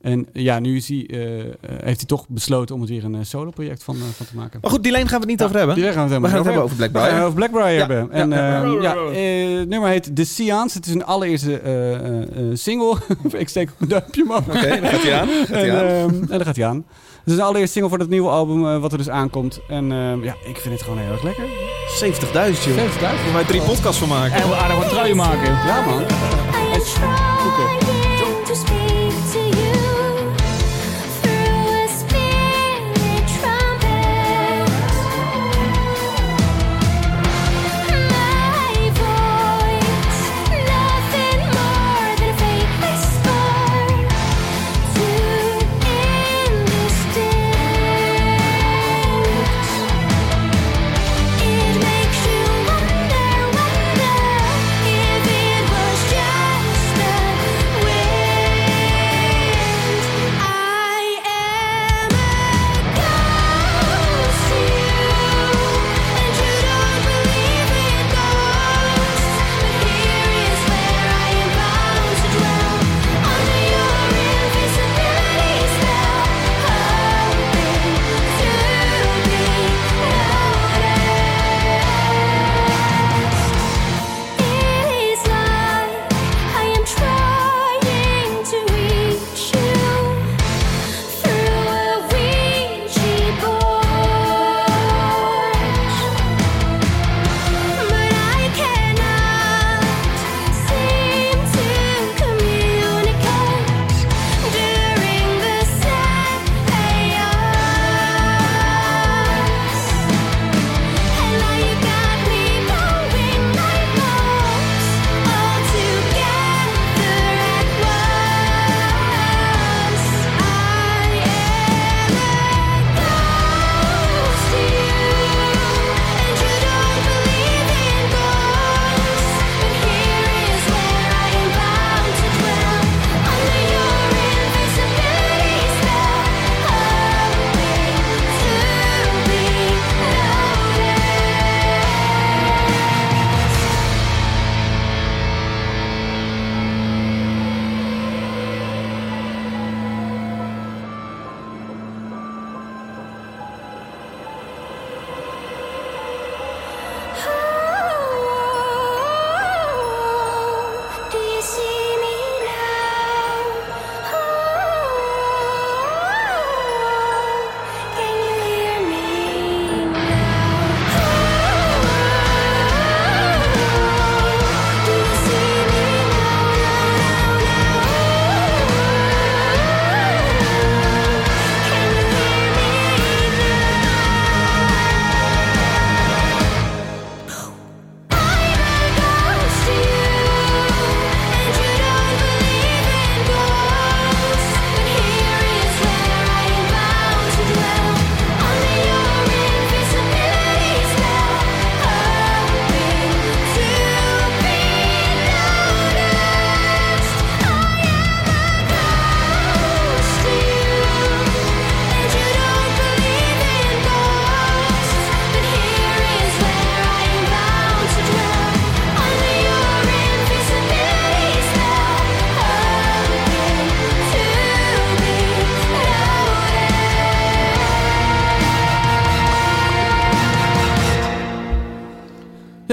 B: En ja, nu is hij, eh, eh, heeft hij toch besloten om het weer een eh, solo-project van, eh, van te maken.
A: Maar Oh, goed, die lane gaan we het niet
B: Ja,
A: over hebben.
B: die gaan we
A: We gaan het hebben over
B: We gaan het
A: Blackbriar.
B: over Blackbriar
A: Ja,
B: hebben. En
A: ja,
B: ja,
A: ja.
B: ja, eh, het nummer heet The Seance. Het is een allereerste eh, eh, eh, single. ik steek op mijn duimpje, man.
A: Oké, dan gaat hij aan. Gaat
B: En,
A: hij aan.
B: ehm, en daar gaat hij aan. Het is de allereerste single voor het nieuwe album eh, wat er dus aankomt. En ehm, ja, ik vind het gewoon heel erg lekker.
A: 70.000 joh.
B: Geef het uit.
A: Kunnen wij drie podcasts van maken.
D: En we aardig wat truien maken.
B: Ja, man.
F: I'm trying to speak to you through a spirit trumpet. My voice, nothing more than a fake whisper to indistinct. It makes you wonder, wonder if it was just a wind.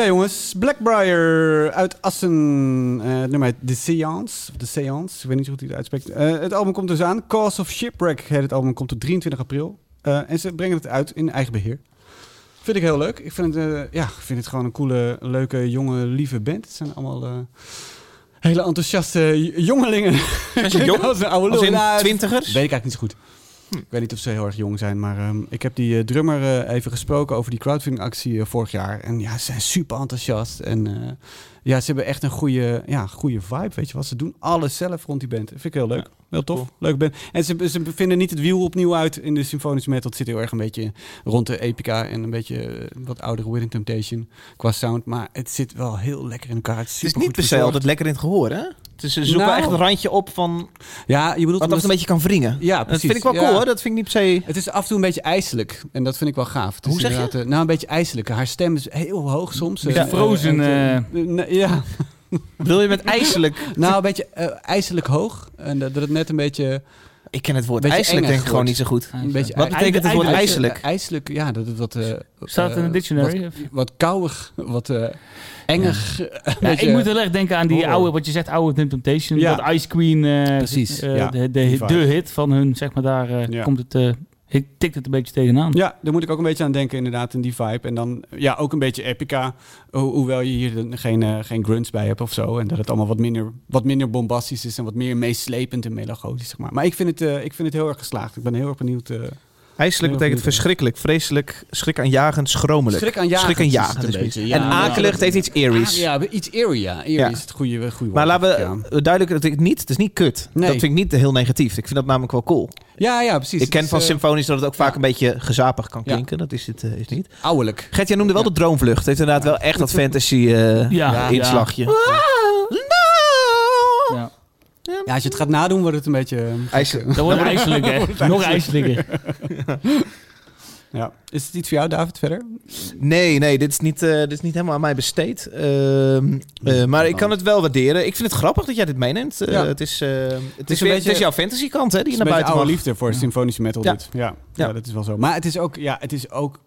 F: Oh,
B: jongens. Blackbriar uit Assen. eh nummer heet The Seance. Of The Seance. Ik weet niet zo goed hoe hij het uitspreekt. Eh, het album komt dus aan. Cause of Shipwreck heet het album. Komt op 23 april. Eh, en ze brengen het uit in eigen beheer. Vind ik heel leuk. Ik vind het, eh, ja, ik vind het gewoon een coole, leuke, jonge, lieve band. Het zijn allemaal eh, hele enthousiaste j- jongelingen.
A: Zijn ze jong?
B: Als een oude
A: Als
B: lul.
A: in
B: Nou, het-
A: twintigers?
B: Weet ik eigenlijk niet zo goed. Ik weet niet of ze heel erg jong zijn, maar ehm, ik heb die eh, drummer eh, even gesproken over die crowdfundingactie eh, vorig jaar. En ja, ze zijn super enthousiast. En eh, ja, ze hebben echt een goede, ja, goede vibe, weet je wat. Ze doen alles zelf rond die band. Vind ik heel leuk. Heel tof. Leuk band. En ze, ze vinden niet het wiel opnieuw uit in de symfonische metal. Het zit heel erg een beetje rond de Epica en een beetje eh, wat oudere Within Temptation qua sound. Maar het zit wel heel lekker in elkaar. Het is,
A: Het is
B: supergoed
A: niet per se
B: verzorgd.
A: altijd lekker in het gehoor, hè? Het is, ze zoeken
B: Nou.
A: echt een randje op van
B: Ja, je bedoelt...
A: wat dat
B: omdat-
A: een beetje kan wringen.
B: Ja,
A: dat
B: precies.
A: vind ik wel
B: Ja.
A: cool, hoor. Dat vind ik niet per se...
B: Het is af en toe een beetje ijselijk. En dat vind ik wel gaaf. Het is
A: Hoe zeg je?
B: inderdaad, eh, nou, een beetje ijselijk. Haar stem is heel hoog soms. eh,
D: Beetje
B: eh,
D: frozen,
B: en, eh, eh, ja,
A: Wil je met ijselijk...
B: nou, een beetje eh, ijselijk hoog. En dat dat het net een beetje...
A: Ik ken het woord
B: Beetje
A: ijselijk
B: eng
A: denk ik
B: geworden.
A: gewoon niet zo goed.
B: Een beetje
A: Wat betekent het woord
B: ijs-
A: ijselijk?
B: eh, Ijselijk, ja. Dat het wat... eh,
D: Staat het in
B: eh,
D: de dictionary? Of-
B: Wat, wat kouwig, wat eh engig. eh,
D: Ja,
B: beetje-
D: ik moet heel erg denken aan die
B: horror.
D: oude, wat je zegt, oude Within Temptation.
B: Ja.
D: Dat Ice Queen, eh,
B: Precies,
D: eh,
B: ja.
D: de, de,
B: Die
D: hit-
B: vibe.
D: de hit van hun, zeg maar, daar eh,
B: Ja.
D: komt het, eh, hit- tikt het een beetje tegenaan.
B: Ja, daar moet ik ook een beetje aan denken inderdaad, in die vibe. En dan ja, ook een beetje epica, ho- hoewel je hier dan geen, eh, geen grunts bij hebt of zo. En dat het allemaal wat minder, wat minder bombastisch is en wat meer meeslepend en melancholisch, zeg maar. Maar ik vind het, eh, ik vind het heel erg geslaagd. Ik ben heel erg benieuwd. eh
A: IJselijk
B: Heel
A: betekent
B: goed.
A: verschrikkelijk, vreselijk, schrikaanjagend, schromelijk.
B: aanjagend
A: Schrikaanjagend
B: is het
A: is
B: een
A: het.
B: beetje,
A: en akelig, het heeft iets
B: Ah,
A: eerie's.
B: ja, iets eerie, ja. Eerie
A: Ja.
B: is het goede, goede woord.
A: Maar laten we
B: Ja,
A: eh, duidelijk, dat ik niet, het is niet kut.
B: Nee.
A: Dat vind ik niet heel negatief. Ik vind dat namelijk wel cool.
B: ja, ja, precies.
A: ik ken
B: Het
A: van
B: is, eh,
A: symfonisch dat het ook vaak
B: ja.
A: een beetje gezapig kan
B: Ja.
A: klinken. Dat is het eh, is niet.
B: Ouwelijk.
A: Gert, jij noemde wel
B: Ja.
A: de droomvlucht. Het heeft inderdaad wel echt dat fantasy eh,
D: Ja.
A: inslagje.
B: Ah,
D: Ja.
B: Ja, als je het gaat nadoen, wordt het een beetje... eh,
A: IJselijk.
D: Dat wordt ijselijk, hè? Nog ijselijker.
B: Ja. Is het iets voor jou, David, verder?
A: Nee, nee, dit is niet, eh, dit is niet helemaal aan mij besteed. Ehm, eh, maar ik kan het wel waarderen. Ik vind het grappig dat jij dit meeneemt. Eh,
B: Ja.
A: Het, is, eh, het, is
B: een
A: weer-
B: beetje-
A: het is jouw fantasy kant hè, die je naar
B: Het is een
A: buiten mag.
B: beetje oude liefde voor symfonische metal
A: Ja.
B: dit. Ja. Ja.
A: Ja.
B: dat is wel zo. Maar het is ook, ja, het is ook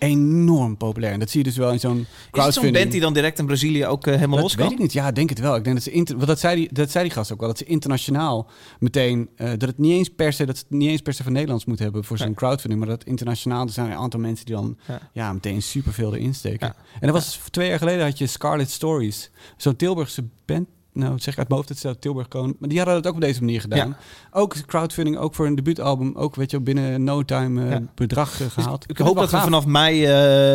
B: enorm populair. En dat zie je dus wel in zo'n
A: Is het
B: crowdfunding.
A: zo'n band die dan direct in Brazilië ook eh, helemaal los
B: dat weet
A: kan?
B: ik niet. Ja, ik denk het wel. Ik denk dat ze inter- want dat zei die, dat zei die gast ook wel. Dat ze internationaal meteen eh, dat het niet eens per se dat ze het niet eens per se van Nederlands moet hebben voor zo'n
A: Nee.
B: crowdfunding, maar dat internationaal er zijn een aantal mensen die dan ja,
A: Ja.
B: meteen superveel erin steken.
A: Ja.
B: En dat was dus twee jaar geleden had je Scarlet Stories, zo'n Tilburgse band. Nou, dat zeg ik uit mijn hoofd dat ze uit Tilburg komen. Maar die hadden dat ook op deze manier gedaan.
A: Ja.
B: Ook crowdfunding, ook voor een debuutalbum. Ook, weet je, wel, binnen no time eh,
A: Ja.
B: bedrag eh, gehaald.
A: Dus Ik hoop dat we vanaf mei eh,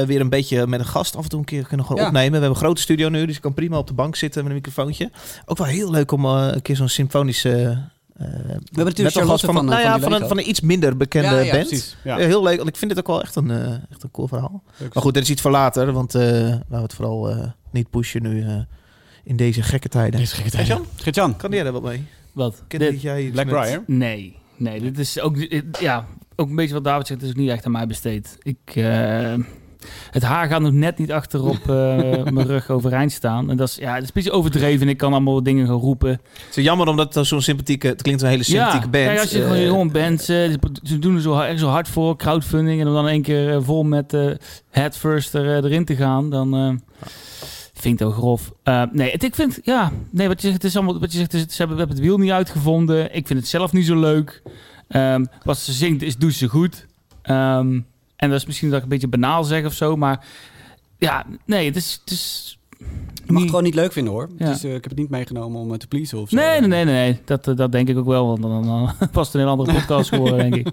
A: weer een beetje met een gast af en toe een keer kunnen gaan
B: Ja.
A: opnemen. We hebben een grote studio nu, dus ik kan prima op de bank zitten met een microfoontje. Ook wel heel leuk om eh, een keer zo'n symfonische... eh,
B: We hebben natuurlijk
A: metalgast
B: Charlotte van,
A: van,
B: van,
A: nou ja,
B: van,
A: van, een, van een iets minder bekende
B: ja, ja,
A: band. Eh,
B: Precies. Ja.
A: Ja. heel leuk, want ik vind dit ook wel echt een, eh, echt een cool verhaal.
B: Leuk.
A: Maar goed, dit is iets voor later, want eh, laten we het vooral eh, niet pushen nu eh, in deze gekke tijden.
B: Deze gekke tijd.
A: Gert-Jan?
B: Gert-Jan.
A: Kan jij daar wat mee?
D: Wat?
A: Ken
D: Dit-
A: dat jij iets
B: Black
A: met-
B: Briar.
D: Nee, nee, dit is ook, dit- ja, ook een beetje wat David zegt, het is ook niet echt aan mij besteed. Ik, eh, het haar gaat nog net niet achterop eh, mijn rug overeind staan. En dat is, ja, het is een beetje overdreven. Ik kan allemaal dingen gaan roepen.
A: Het is jammer omdat het zo'n sympathieke, het klinkt een hele sympathieke
D: ja,
A: band.
D: Kijk, als je
A: eh,
D: gewoon jong bent, ze, ze doen er zo, hard- echt zo hard voor, crowdfunding. En om dan in één keer eh, vol met eh head first er, eh, erin te gaan, dan eh, vind ik dat grof. Eh, nee, het, ik vind, ja, nee, wat je zegt, het is allemaal, wat je zegt, het is- ze hebben, we hebben het wiel niet uitgevonden. Ik vind het zelf niet zo leuk. Ehm, wat ze zingt, is, doet ze goed. Ehm, en dat is misschien dat ik een beetje banaal zeg of zo, maar ja, nee, het is... Het is
B: Je mag
D: niet-
B: het gewoon niet leuk vinden hoor.
D: Ja.
B: Dus eh, ik heb het niet meegenomen om eh, te pleasen of zo.
D: Nee, nee, nee, nee. nee. Dat, eh, dat denk ik ook wel. Want dan, dan, dan was het een heel andere podcast geworden, denk ik.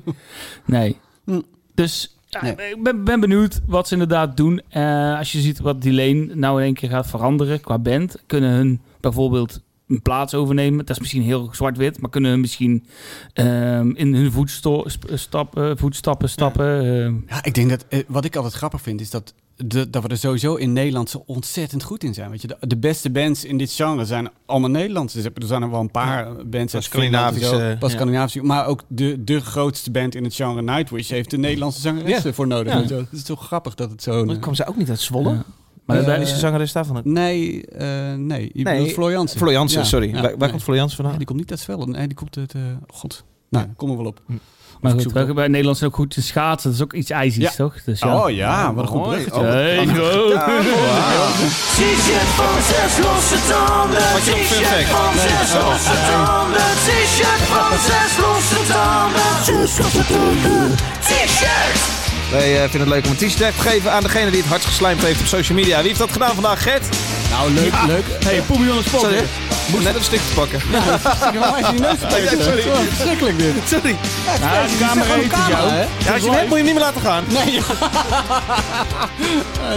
D: Nee.
B: Hm.
D: Dus ja,
B: Nee.
D: ik ben, ben benieuwd wat ze inderdaad doen. Eh, als je ziet wat die lane nou in één keer gaat veranderen qua band. Kunnen hun bijvoorbeeld een plaats overnemen. Dat is misschien heel zwart-wit. Maar kunnen hun misschien ehm, in hun voetsto- sp- stap, eh, voetstappen stappen. ehm.
B: Ja, ik denk dat eh, wat ik altijd grappig vind is dat, de, dat we er sowieso in Nederland zo ontzettend goed in zijn. Weet je, de, de beste bands in dit genre zijn allemaal Nederlands. Dus er zijn er wel een paar bands uit
A: Scandinavische,
B: Finland en zo.
A: eh,
B: Pas
A: ja.
B: Scandinavische, maar ook de, de grootste band in het genre Nightwish heeft de Nederlandse zangeressen voor nodig.
D: Ja.
B: weet je wel. Het is toch grappig dat het zo.
A: Maar kwam ze ook niet uit Zwolle?
D: Ja.
A: Maar
B: Eh,
A: daar is de zangeres daarvan. uit?
B: Nee, eh, nee. Je
A: Nee,
B: bedoelt Floor Jansen.
A: Floriansen,
B: Ja.
A: sorry.
B: Ja,
A: Waar, waar
B: nee.
A: komt Floriansen
B: Ja,
A: vandaan?
B: die komt niet uit Zwolle. Nee, die komt uit... eh, God. Nou, daar komen we wel op.
D: Maar
B: ik
D: goed,
B: zoek
D: wij-
B: het
D: bij Nederland zijn ook goed te schaatsen. Dat is ook iets ijzigs,
B: Ja.
D: toch? Dus ja. Oh,
B: Oh ja, wat een goed bruggetje.
D: Hey, wow.
C: T-shirt van zes losse tanden.
A: Had je nog fun
C: T-shirt
A: fact?
C: van zes
A: Oh,
C: losse tanden. T-shirt van zes losse tanden. Zes losse tanden. T-shirt.
A: Wij eh, vinden het leuk om een t-shirt te geven aan degene die het hardst geslijmd heeft op social media. Wie heeft dat gedaan vandaag, Gert?
B: Nou, leuk, leuk.
D: Hey, Poemie on the spot,
A: Sorry,
D: hè?
A: ik moest net een stukje pakken.
B: Sorry. Verschrikkelijk dit.
A: Sorry.
D: Ja, de camera heeft het jou.
A: Ja, als je hebt, moet je hem niet meer laten gaan. Nee.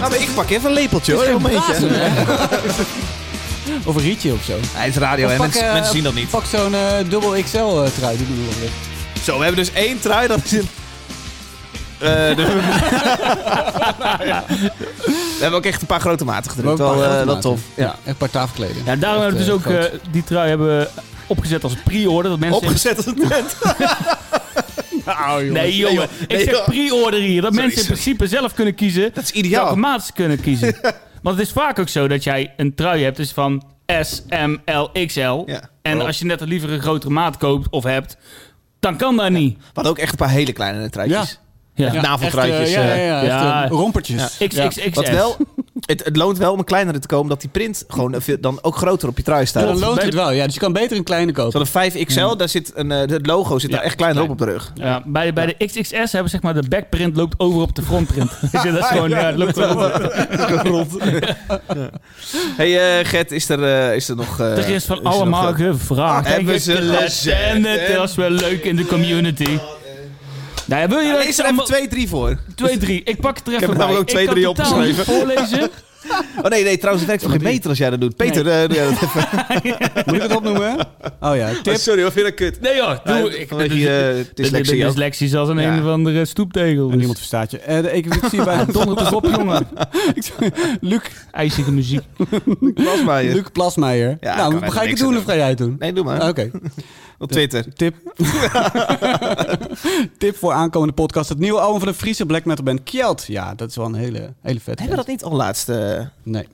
A: nou, maar ik pak even een lepeltje hoor. Een momentje.
B: Of een rietje of zo. eh,
A: Hij is radio hè. Mensen, mensen zien dat niet.
B: Pak zo'n eh, dubbel XL eh, trui, die bedoel ik. net.
A: Zo, we hebben dus één trui. Dat is een... Eh, de- We hebben ook echt een paar grote maten gedrukt.
B: Wel een
A: Wel,
B: paar
A: eh,
B: grote
A: wel
B: maten.
A: tof.
B: Ja, echt een paar tafelkleden.
D: Ja, daarom hebben we dus ook
B: Echt, eh,
D: eh, die trui hebben we opgezet als pre-order. Dat mensen
A: Opgezet als een tent.
D: Nee, jongen.
A: Nee, joh. Nee,
D: ik zeg
A: joh.
D: pre-order hier. Dat mensen in
A: sorry.
D: principe zelf kunnen kiezen
A: Dat is
D: welke
A: ideaal.
D: maat ze kunnen kiezen. Want het is vaak ook zo dat jij een trui hebt dus van S, M, L, XL. En
A: Oh.
D: als je net een liever een grotere maat koopt of hebt, dan kan dat niet.
A: We hadden ook echt een paar hele kleine truitjes.
B: Ja.
D: Ja.
A: Ja.
B: eh,
A: Naveltruitjes.
B: Ja, ja,
A: eh.
B: ja, echt,
D: ja.
B: eh, rompertjes.
D: X,
B: Ja.
D: X, X,
A: Wat wel, het, het loont wel om een kleinere te komen, dat die print gewoon veel- dan ook groter op je trui staat.
B: Dan loont
D: Bij
B: het
D: de-
B: wel, ja. Dus je kan beter een kleine kopen.
A: Zo'n 5XL, daar zit een, eh, het logo zit daar echt kleiner op op de rug.
D: Ja, bij, bij de XXS hebben zeg maar de backprint loopt over op de frontprint. Dus dat is gewoon, ja, het loopt over.
A: hey, eh, Gert, is er, eh, is er nog... eh,
D: Er is van
A: nog,
D: allemaal
A: eh,
D: gevraagd.
A: hebben
D: En
A: ze
D: gekletst.
A: gezegd,
D: En het
A: hè?
D: was wel leuk in de community. Nou ja, wil je
A: ja,
D: dat
A: Lees
D: ik
A: er even
D: allemaal-
A: twee, drie voor.
D: Twee, drie. Ik pak het er even
A: heb er
D: bij.
A: namelijk ook twee,
D: ik
A: drie
D: kan totaal niet voorlezen.
A: Oh nee, nee, trouwens, het werkt voor geen meter als jij dat doet. Peter, eh, doe jij dat even.
B: Moet ik het opnoemen? Oh ja, tip.
A: sorry hoor, vind ik kut.
D: Nee joh, doe.
A: Nee,
D: ik
A: vanwege
D: ben dus-
A: je, eh,
D: ik ben
A: dyslexie
D: dus
A: ook.
D: dyslexie als een
A: Ja.
D: een of andere stoeptegel. Dus.
B: Niemand verstaat je. Eh, de equivalentie bij
D: Donder op de kop, jongen.
B: Luc,
D: IJzige muziek.
A: Pas maar je.
B: Luc Plasmeijer.
A: Ja, kan
B: nou,
A: wij er
B: ga ik het
A: niks
B: doen
A: aan
B: of ga jij het doen?
A: Nee, doe maar.
D: Oh,
B: Oké,
A: Op Twitter.
B: tip. tip voor aankomende podcast. Het nieuwe album van de Friese black metal band Kjeld. Ja, dat is wel een hele, hele vet.
A: Hebben we dat niet al laatst? eh,
B: Nee.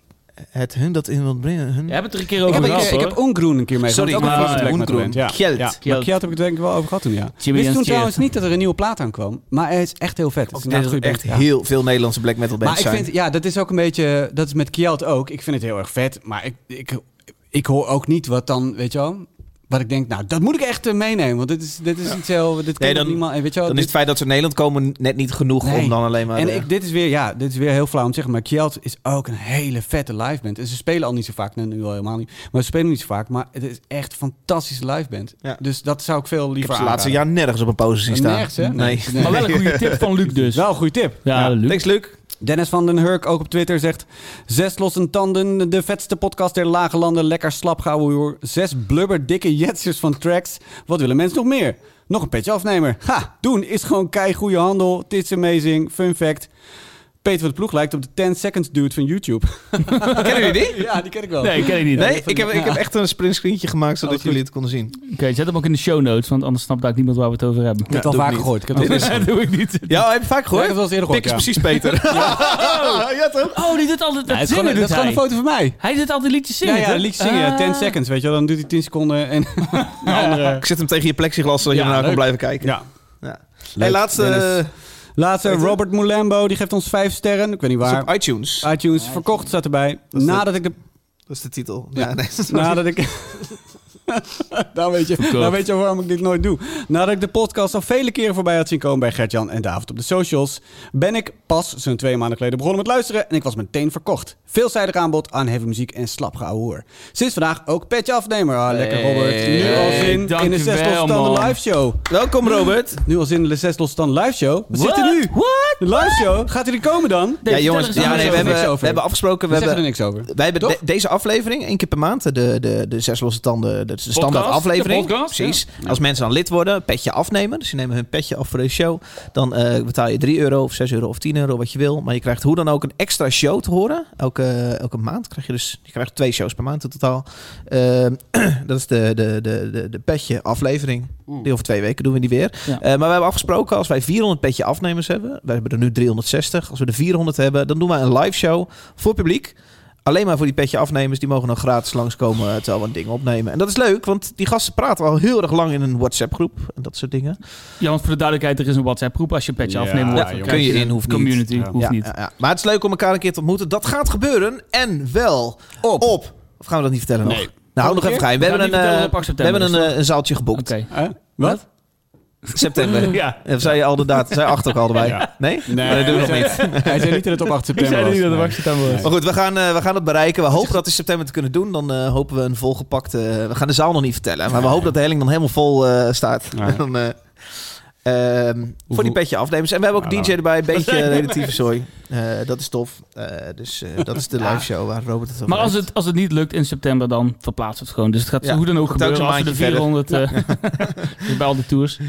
A: het hun dat in wilt brengen? Hun?
D: Je hebt het er een keer
B: Ik
D: over
B: heb, ik,
D: gehad,
B: ik heb
D: hoor.
B: Ongroen een keer mee
A: Sorry,
B: gehad. Dat is
D: maar
B: ook een Friese black metal
A: Ongroen.
B: band, Ja.
A: Kjeld.
B: Ja. Maar
D: Kjeld.
B: Kjeld heb ik het denk ik wel over gehad toen, ja.
D: Jimmy
B: Wist
D: en
B: toen
D: Steve.
B: trouwens niet dat er een nieuwe plaat aankwam. Maar hij is echt heel vet. Het is
A: Ook net
B: een
A: als
B: goede
A: echt
B: band, ja.
A: heel veel Nederlandse black metal bands
B: Maar ik
A: zijn.
B: vind, ja, dat is ook een beetje, dat is met Kjeld ook. Ik vind het heel erg vet, maar ik, ik, ik hoor ook niet wat dan, weet je wel, wat ik denk, nou, dat moet ik echt eh, meenemen, want dit is, dit is iets heel, dit kan
A: Nee, dan-
B: niemand, en weet je wel.
A: Dan is het
B: dit-
A: feit dat ze in Nederland komen net niet genoeg
B: Nee.
A: om dan alleen maar...
B: en
A: eh,
B: ik, dit is weer, ja, dit is weer heel flauw om te zeggen, maar Kjeld is ook een hele vette live band. En ze spelen al niet zo vaak, nee, nu al helemaal niet, maar ze spelen niet zo vaak, maar het is echt een fantastische live band.
A: Ja.
B: Dus dat zou ik veel
A: ik
B: liever
A: heb ze laatste
B: aanraden.
A: jaar nergens op een positie staan.
B: Nergens, hè?
A: Nee.
D: Maar wel een goede tip van Luc dus.
B: Wel een goede tip.
D: Ja, Luc.
A: Thanks, Luc.
B: Dennis van den Hurk, ook op Twitter, zegt... Zes lossen tanden, de vetste podcast der lage landen. Lekker slap gauw hoor. Zes blubberdikke jetsers van tracks. Wat willen mensen nog meer? Nog een petje afnemer. Ha, doen is gewoon kei goede handel. Het is amazing. Fun fact. Peter van de Ploeg lijkt op de 10 seconds dude van YouTube.
A: Kennen jullie die?
B: Ja, die ken ik wel.
D: Nee, ik ken ik niet.
A: Nee, ik heb, ik heb echt een sprintscreentje gemaakt
B: Oh,
A: zodat
B: goed.
A: jullie het konden zien.
D: Oké, zet hem ook in de show notes, want anders snapt daar niemand waar we het over hebben.
B: heb het al
A: doe ik
B: vaker
A: niet.
B: gehoord. Ik heb het al
A: Dit is-
B: vaker
D: dat doe ik niet.
A: Ja, heb je vaak
B: gehoord.
A: gehoord?
B: Ik heb het wel eens eerder
A: Pik
B: gehoord,
A: is
B: ja.
A: precies Peter. Ja, toch?
D: Oh, die doet altijd dat
B: Ja, het is gewoon,
D: zingen
B: dat
D: doet
B: is gewoon
D: hij.
B: een foto van mij.
D: Hij doet altijd liedjes
B: Ja,
D: zingen,
B: ja,
D: toch?
B: liedjes zingen. ja,
D: Ah.
B: 10 seconds, weet je wel. Dan doet hij 10 seconden en een andere...
A: Ik zet hem tegen je plexiglas zodat je
B: Ja,
A: ernaar kan
B: leuk.
A: blijven kijken.
B: Ja.
A: Ja.
B: Leuk,
A: Hey, laatste
B: Dennis.
A: eh,
B: Laatste,
A: Peter?
B: Robert Mulambo, die geeft ons 5 sterren. Ik weet niet
A: is
B: waar.
A: op iTunes.
B: iTunes verkocht staat erbij.
A: is
B: Nadat ik de.
A: Dat is de titel.
B: Ja. Nou.
A: Ja, nee.
B: Nadat ik. dan, weet je, dan weet je waarom ik dit nooit doe. Nadat ik de podcast al vele keren voorbij had zien komen bij Gertjan en David op de socials, ben ik pas zo'n twee maanden geleden begonnen met luisteren en ik was meteen verkocht. Veelzijdig aanbod aan heavy muziek en slap hoer. Sinds vandaag ook petje afnemer. Ah, lekker
A: Hey,
B: Robert. Nu al zin in de
D: dankjewel,
B: Zes Losstanden
D: man.
B: live show.
A: Welkom Robert.
B: Nu al zin in de Zes Losstanden live show. Wat zit er nu?
D: What?
B: De live show? Gaat hij er komen dan?
A: Ja, jongens,
D: vertel er
A: ja,
D: eens
A: nee, we,
D: over.
A: hebben,
B: Niks over.
A: we hebben afgesproken.
B: We
A: We
B: zeggen er
A: hebben,
B: niks over.
A: wij hebben
B: Toch?
A: de- deze aflevering, één keer per maand, de, de, de zes losse tanden, de, de standaard
D: Podcast,
A: aflevering.
D: de podcast,
A: precies. Als mensen dan lid worden, petje afnemen. Dus ze nemen hun petje af voor de show. Dan eh, betaal je 3 euro of 6 euro of 10 euro, wat je wil. Maar je krijgt hoe dan ook een extra show te horen. Elke, elke maand krijg je dus je krijgt twee shows per maand in totaal. Ehm, dat is de, de, de, de, de petje aflevering. Die over twee weken doen we die weer.
D: Ja.
A: Eh, maar we hebben afgesproken, als wij 400 petje afnemers hebben, wij hebben er nu 360. Als we er 400 hebben, dan doen wij een live show voor publiek. alleen maar voor die petje afnemers. Die mogen dan gratis langskomen eh, terwijl we een ding opnemen. En dat is leuk, want die gasten praten al heel erg lang in een WhatsApp-groep. En dat soort dingen.
D: Ja, want voor de duidelijkheid, er is een WhatsApp-groep. Als je een petje
G: Ja,
D: afneemt, wordt
G: ja,
D: het-
G: kun
A: je in, hoeft niet.
D: Community,
G: Ja.
D: hoeft
A: Ja,
D: niet.
A: ja, ja. Maar het is leuk om elkaar een keer te ontmoeten. Dat gaat gebeuren. En wel op. Of gaan we dat niet vertellen nog?
G: Nee.
A: Nou, hou nog
B: Volgende
A: even geheim. We
D: We gaan
A: hebben een,
D: niet vertellen
A: eh,
D: op 8
A: we
D: september,
A: hebben een, eh, een zaaltje geboekt.
D: Oké.
B: Hè? Wat?
A: September.
D: Ja.
A: Of zei je al de data? Zei acht ook al erbij?
G: Ja.
A: Nee?
B: Nee,
A: dat doen we nog
B: hij
A: niet.
B: zei- Hij zei niet dat het op 8
D: Ik
B: september
D: zei
B: was.
D: niet dat de
B: Nee.
D: wacht aan wordt.
A: Maar goed, we gaan, eh, we gaan het bereiken. We hopen dat in september te kunnen doen. Dan eh, hopen we een volgepakte... eh, we gaan de zaal nog niet vertellen. Maar we hopen dat de helling dan helemaal vol eh, staat.
B: Ja.
A: Dan, eh, ehm, voor die petje afnemers. En we hebben ook
G: Ja,
A: DJ erbij. Een beetje
D: zijn
A: relatieve zooi. Eh, dat is tof. Eh, dus eh, dat is de live show waar Robert het over
D: Maar als
A: heeft.
D: het, als het niet lukt in september, dan verplaatsen we het gewoon. Dus het gaat
A: Ja,
D: hoe dan ook
A: het duikt
D: gebeuren als we
A: een
D: de
A: maandje
D: 400... eh, dus bij al de tours.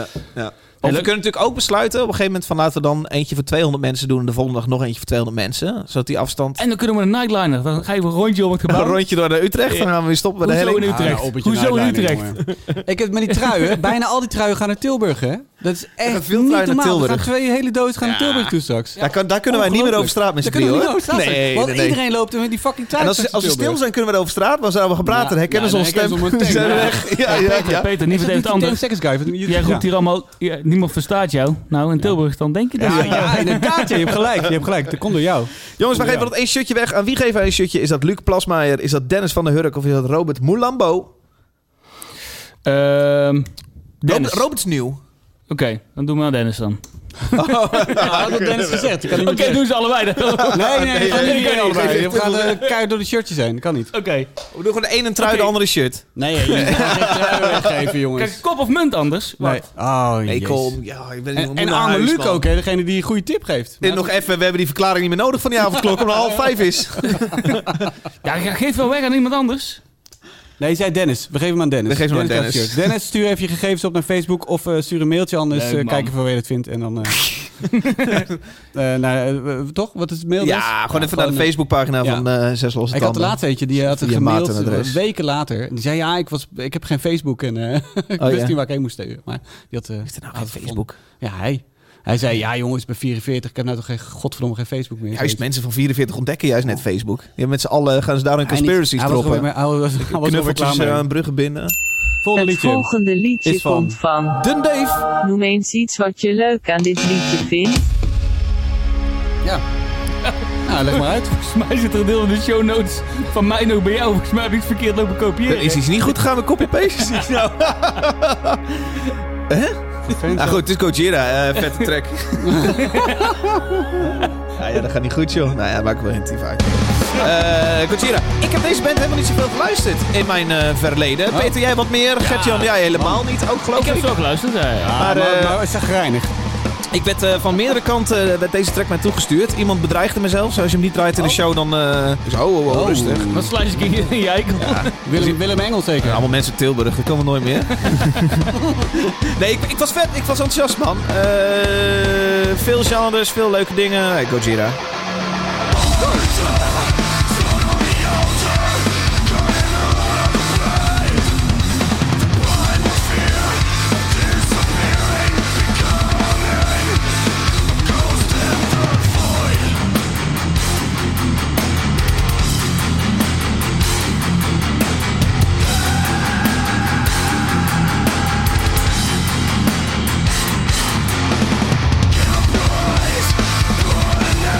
A: Of we
D: leuk.
A: kunnen natuurlijk ook besluiten op een gegeven moment van laten we dan eentje voor 200 mensen doen en de volgende dag nog eentje voor 200 mensen. Zodat die afstand
D: En dan kunnen we een nightliner. Dan ga je een rondje om het gebouw.
A: een rondje door naar Utrecht en dan gaan we weer stoppen bij de
D: Hoezo
A: helling.
D: in Utrecht?
B: Ah, op het je
D: Hoezo in
B: uitleiding,
D: Utrecht?
B: jongen. Ik heb met die truien, bijna al die truien gaan naar Tilburg, hè? Dat is
A: gaan
B: echt
A: veel truien
B: niet
A: naar
B: normaal. Er gaan
A: Tilburg.
B: twee hele doos gaan naar
A: Ja.
B: Tilburg toe straks.
A: Daar, kan, daar kunnen wij niet meer over straat met z'n
B: Oh, Daar kunnen we
A: drieën,
B: niet over
A: hoor.
B: straat zijn,
A: Nee,
B: Want
A: nee, nee.
B: iedereen loopt er met die fucking
A: En
B: truien
A: als, als we stil zijn kunnen we er over straat, maar zouden we gepraat en herkennen ze
B: Ja,
A: ons
B: dan
A: stem.
B: herkennen ze ons meteen,
A: Zijn we
B: ja.
A: weg. Ja, ja,
D: Peter,
A: ja.
D: Peter, niet meteen het
B: Damn
D: ander.
B: sex guy. van-
D: Jij roept
B: Ja.
D: hier allemaal... ja, niemand verstaat jou. Nou, in Tilburg, dan denk je dat.
B: Ja, ja, inderdaad. ja, Je hebt gelijk. Je hebt gelijk. Dat komt door jou.
A: Jongens, we geven dat één shirtje weg. Aan wie geven wij een shirtje? Is dat Luc Plasmaier? Is dat Dennis van der Hurk? Of is dat Robert Moulambo?
D: Ehm,
A: Robert,
D: Dennis. Oké,
A: Robert is nieuw.
D: dan doen we aan Dennis dan.
B: Ja, Oh, dat had Dennis gezegd. Dat kan niet meer
D: Oké,
B: terug.
D: doen ze allebei dan. Oké.
B: Nee, nee, nee.
A: nee,
B: nee,
A: nee, nee, nee.
B: We gaan eh, keihard door de shirtjes heen. Dat kan niet.
A: We doen gewoon de een een trui, de andere shirt.
B: Nee, je moet eh, weggeven,
D: Kijk, kop of munt anders.
B: Nee. Oh,
A: Nee,
B: jezus.
A: kom. Ja, ik ben
B: En, en arme Luc ook, hè, degene die een goede tip geeft.
A: En nog even, we hebben die verklaring niet meer nodig van die avondklok, omdat het half vijf is.
D: Ja, ge- geef wel weg aan iemand anders.
B: Nee, je zei Dennis. We geven hem aan Dennis.
A: We geven hem aan
B: krijgt
A: Dennis.
B: het shirt. Dennis, stuur even je gegevens op naar Facebook of eh, stuur een mailtje anders.
D: Leuk,
B: eh,
D: man.
B: kijken of waar je het vindt. En dan. eh, eh, nou, eh, eh, toch? Wat is het mailadres?
A: Ja, gewoon even naar de
B: eh,
A: Facebookpagina
B: ja.
A: van eh Zes Losse
B: Ik had de
A: Tanden.
B: laatste eentje, die had het
A: Via
B: gemaild
A: matenadres.
B: weken later. En Die zei, ja, ik, was, ik heb geen Facebook en eh, ik
A: Oh,
B: wist
A: ja.
B: niet waar ik heen moest sturen. Maar die had, eh,
A: Is er nou
B: had
A: geen
B: het
A: Facebook?
B: gevonden. Ja, hij. Hij zei, ja jongens, ik ben 44, ik heb nou toch geen, godverdomme geen Facebook meer.
A: Juist mensen van 44 ontdekken juist net Facebook. Die hebben met z'n allen eh, gaan ze daar een
B: Hij niet.
A: conspiracies
B: Hij was er
A: droppen.
B: weer- Hij was, hij was er weer klaar
A: Knuffeltjes eh,
B: mee.
A: aan bruggen binnen.
B: Volgende
E: Het
B: liedje.
E: volgende liedje
B: is van-
E: komt van.
A: Dun Dave.
E: Noem eens iets wat je leuk aan dit liedje vindt.
B: Ja. Nou, leg maar uit.
D: Volgens mij zit er een deel in de show notes van mij nog bij jou. Volgens mij heb ik het verkeerd lopen kopiëren.
A: Er is iets niet goed gegaan met copy-paste. is nou. Nou goed, het is Gojira. eh, vette track. ja, ja, dat gaat niet goed, joh. Nou ja, maak ik wel een tief uit. Eh Gojira. Ik heb deze band helemaal niet zoveel geluisterd in mijn eh, verleden. Peter, jij wat meer? Gert-Jan, jij helemaal niet. Ook geloof
D: Ik heb zo geluisterd. Ah, ja, ja.
A: maar,
B: Maar,
A: eh,
B: maar is dat geinig?
A: Ik werd eh, van meerdere kanten eh, werd deze track mij toegestuurd. Iemand bedreigde mezelf. Zo, Als je hem niet draait in de show, dan... eh dus, oh, oh, oh, rustig.
D: Dan sluit ik in je eikel.
B: Willem, Willem Engel zeker.
A: Allemaal mensen uit Tilburg, dat komen we nooit meer. nee, ik, ik was vet. Ik was enthousiast, man. Eh, veel genres, veel leuke dingen. Hey, Gojira.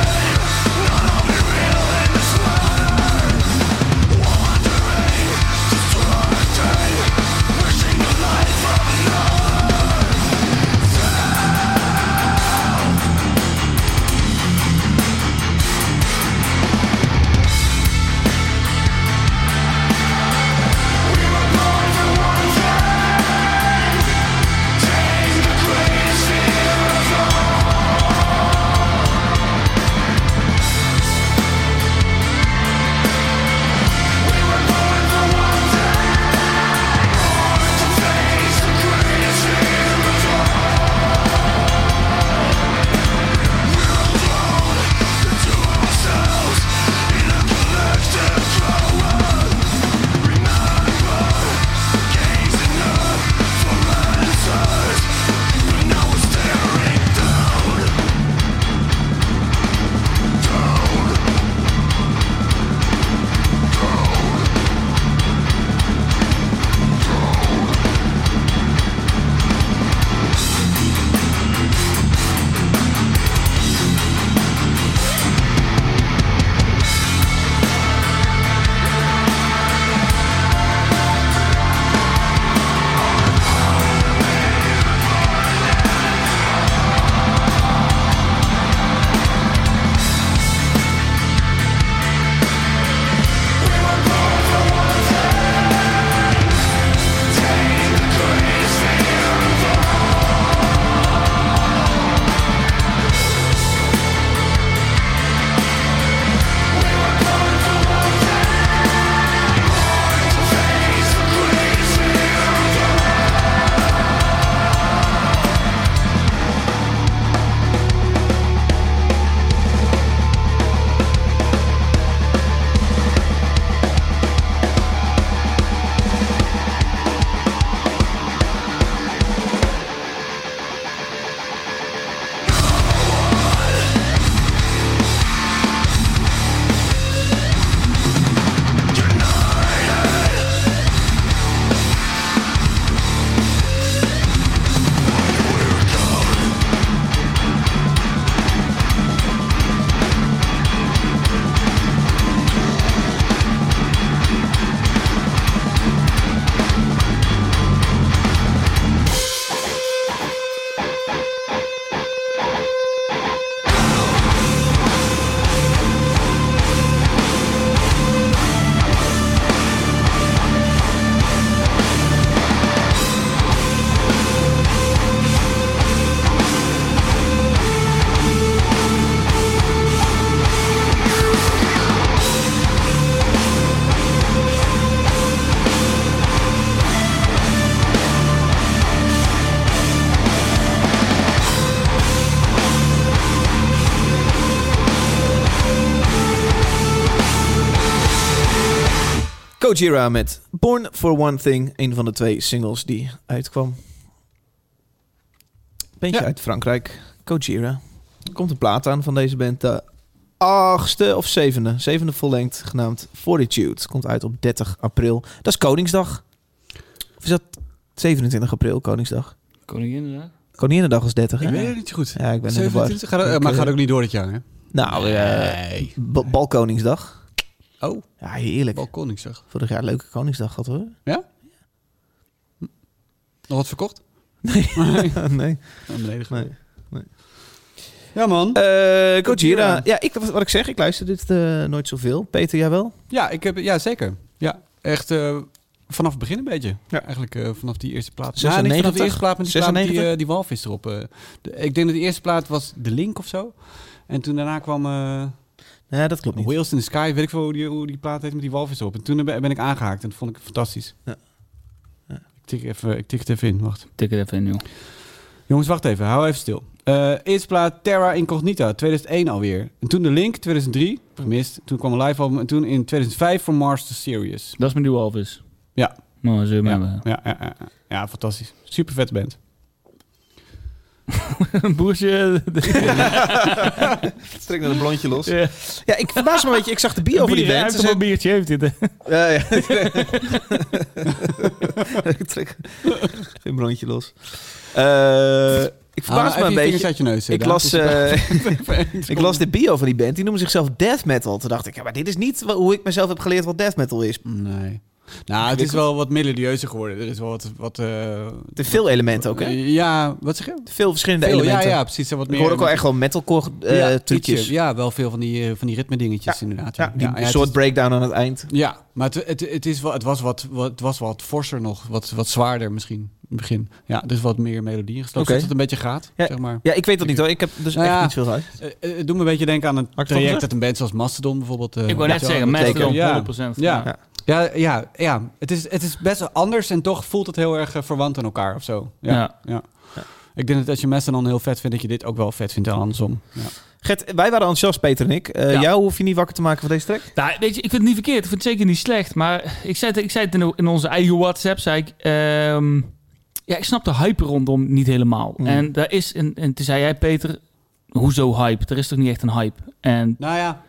F: Tonight,
A: Gojira met Born for One Thing, een van de twee singles die uitkwam. Bandje
B: Ja.
A: uit Frankrijk, Gojira. Er komt een plaat aan van deze band, de achtste of zevende, zevende vollengd, genaamd Fortitude. Komt uit op 30 april, dat is Koningsdag. Of is dat 27 april, Koningsdag?
D: Koningin, inderdaad.
A: Koninginnedag is 30,
B: Ik
A: hè?
B: weet het niet zo goed.
A: Ja, ik ben in de war.
B: 27 gaat, eh,
A: Ik,
B: maar
A: eh,
B: gaat ook niet door dit jaar, hè?
A: Nou, eh
B: Nee.
A: Ba- Balkoningsdag.
B: Oh,
A: Ja, heerlijk.
B: balkon, ik zeg.
A: Vorig jaar leuke Koningsdag gehad hoor.
B: Nog wat verkocht?
A: nee.
B: Naar beneden
A: nee.
B: gegooid. Ja, man.
A: Eh, Gojira.
B: Gojira.
A: Ja, ik, wat ik zeg, ik luister dit eh, nooit zoveel. Peter, jij wel?
B: Ja, ik heb, ja zeker. Ja, echt eh, vanaf het begin een beetje.
A: Ja.
B: Eigenlijk eh, vanaf die eerste plaat. Ja, niet
A: 96?
B: vanaf de eerste plaat, maar die, plaat met die,
A: 96?
B: eh, die walvis erop. eh. De- ik denk dat de eerste plaat was De Link of zo. En toen daarna kwam eh
A: Nee, dat klopt niet.
B: Wheels in the Sky. Weet ik veel hoe die, hoe die plaat heet met die walvis erop. En toen ben, ben ik aangehaakt en dat vond ik fantastisch.
A: Ja. Ja.
B: Ik, tik even, ik tik het even in, wacht.
D: Tik het even in, joh.
B: Jongens, wacht even. Hou even stil. Eh, eerste plaat Terra Incognita, 2001 alweer. En toen De Link, 2003. Gemist. Toen kwam een live album. En toen in 2005 voor Mars the Serious.
D: Dat is mijn nieuwe Alvis.
B: Ja.
D: Nou, zullen we hem
B: Ja, ja, ja, ja, ja, fantastisch. Super vet band.
D: hebben. eh. Boertje.
A: Strek naar nou een blondje los.
D: Ja.
A: Ja, ik verbaas me een beetje. Ik zag de bio van die
D: Bier, hij
A: band.
D: heeft
A: Dus
D: hem
A: ik,
D: een biertje heeft dit. hè?
A: ja, ja. ik trek geen blondje los. Eh, ik verbaas me een beetje.
B: uit Ah, je neus.
A: Ik las, eh, ik las de bio van die band. Die noemen zichzelf death metal. Toen dacht ik, ja, maar dit is niet wa- hoe ik mezelf heb geleerd wat death metal is.
B: Nee. Nou, het is wel wat melodieuzer geworden. Er is wel wat... wat eh,
A: Er zijn veel elementen ook, hè?
B: eh, Ja, wat zeg je?
A: Veel verschillende
B: Veel, ja,
A: elementen.
B: ja, precies. en Wat
A: Ik
B: meer,
A: hoor ook wel echt wel metalcore eh,
B: Ja,
A: trucjes.
B: ietsje. Ja, wel veel van die, eh, van die ritmedingetjes inderdaad.
A: Ja, die
B: het
A: soort
B: is-
A: breakdown aan het eind.
B: Ja, maar het, het, het, is wel, het, was wat, wat, het was wat forser nog. Wat, wat zwaarder misschien in het begin. Ja, dus wat meer melodie gestoken.
A: Oké.
B: Zodat het een beetje gaat,
A: Ja.
B: zeg maar.
A: Ja, ik weet dat niet hoor. Ik heb dus
B: Nou
A: echt
B: ja.
A: niet veel uit.
B: Eh, eh, Het doet me een beetje denken aan
A: het
B: een
A: anders?
B: traject dat een band zoals Mastodon bijvoorbeeld... eh,
D: Ik wou net
B: ja,
D: zeggen,
B: dat
A: Mastodon,
D: mensen
B: betekent. Ja.
D: dan 100%.
B: Ja.
D: Ja.
A: Ja.
B: Ja, ja, ja. Het, is, het is best wel anders en toch voelt het heel erg eh, verwant aan elkaar of zo. Ja.
D: Ja.
B: ja. Ik denk dat als je Mastodon heel vet vindt, dat je dit ook wel vet vindt en andersom. Ja.
A: Gert, wij waren enthousiast, Peter en ik. Eh,
D: Ja.
A: Jou hoef je niet wakker te maken van deze track.
D: Nou, weet je, ik vind het niet verkeerd. Ik vind het zeker niet slecht. Maar ik zei het, ik zei het in, in onze eigen WhatsApp, zei ik... ehm, ja, ik snap de hype rondom niet helemaal.
A: Mm.
D: En, daar is een, en toen zei jij, Peter, hoezo hype? Er is toch niet echt een hype? En
B: Nou ja.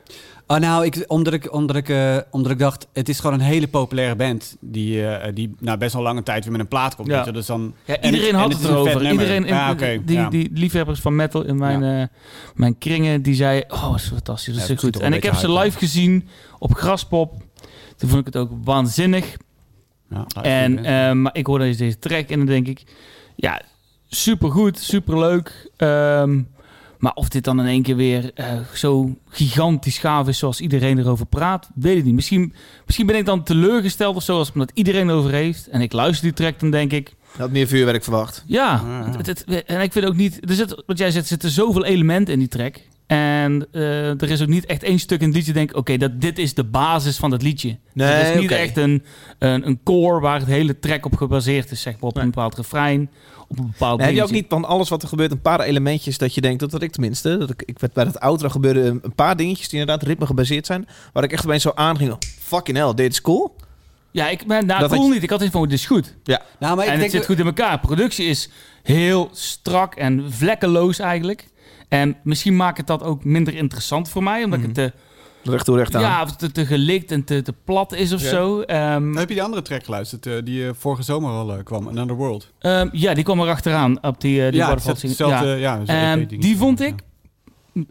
B: Oh, nou, ik, omdat, ik, omdat, ik, eh, omdat ik dacht, het is gewoon een hele populaire band. Die, eh, die nou, best wel lange tijd weer met een plaat komt.
D: Ja.
B: weet je. Dus dan,
D: ja,
B: en
D: iedereen
B: het- en
D: had
B: het
D: het
B: is een vet
D: erover.
B: nummer.
D: Iedereen, in-
B: Ja, oké,
D: die,
B: ja.
D: die liefhebbers van metal in mijn, eh, mijn kringen, die zei... Oh, dat is fantastisch, dat
B: Ja,
D: is
B: het
D: echt
B: ziet
D: goed.
B: er wel
D: En
B: een
D: ik heb ze
B: beetje
D: live
B: hype,
D: gezien op Graspop. Toen vond ik het ook waanzinnig.
B: ja,
D: En, eh, maar ik hoor deze, deze track en dan denk ik, ja, supergoed, superleuk. Ehm, maar of dit dan in één keer weer eh, zo gigantisch gaaf is zoals iedereen erover praat, weet ik niet. Misschien, misschien ben ik dan teleurgesteld of zo, als- omdat iedereen erover heeft. En ik luister die track, dan denk ik,
A: Had meer vuurwerk verwacht.
D: ja.
B: Ah, ja.
D: Het, het- en ik vind ook niet, er zit, wat jij zegt, er zitten zoveel elementen in die track. En eh, er is ook niet echt één stuk in het liedje, denk ik, oké, dat dit is de basis van dat liedje. Dus
A: Nee,
D: Het is niet
A: oké.
D: echt een, een, een core waar het hele track op gebaseerd is, zeg maar, op
A: Nee.
D: een bepaald refrein, op een bepaald
A: heb je ook
D: dingetje.
A: niet van alles wat er gebeurt een paar elementjes dat je denkt, dat had ik tenminste. Dat ik, ik werd bij dat outro gebeurde een een paar dingetjes die inderdaad ritme gebaseerd zijn. Waar ik echt opeens zo aanging, oh, fucking hell, dit is cool.
D: Ja, ik ben nou,
A: Dat
D: cool
A: had je-
D: niet. Ik had iets van, dit is goed.
B: nou, maar ik
D: en het
B: denk
D: zit goed in elkaar. Productie is heel strak en vlekkeloos eigenlijk. En misschien maakt het dat ook minder interessant voor mij,
A: Mhm.
D: omdat ik het te,
A: Recht toe, recht aan.
D: ja, of te, te gelikt en te, te plat is of
B: Ja.
D: zo. Ehm,
B: Heb je die andere track geluisterd, eh, die eh, vorige zomer al eh, kwam, Another World?
D: Ehm, ja, die kwam erachteraan op die, eh die
B: ja,
D: waterval
B: het eh, is hetzelfde, ja. zo'n
D: Ehm,
B: EP-ding.
D: die vond
B: Ja.
D: ik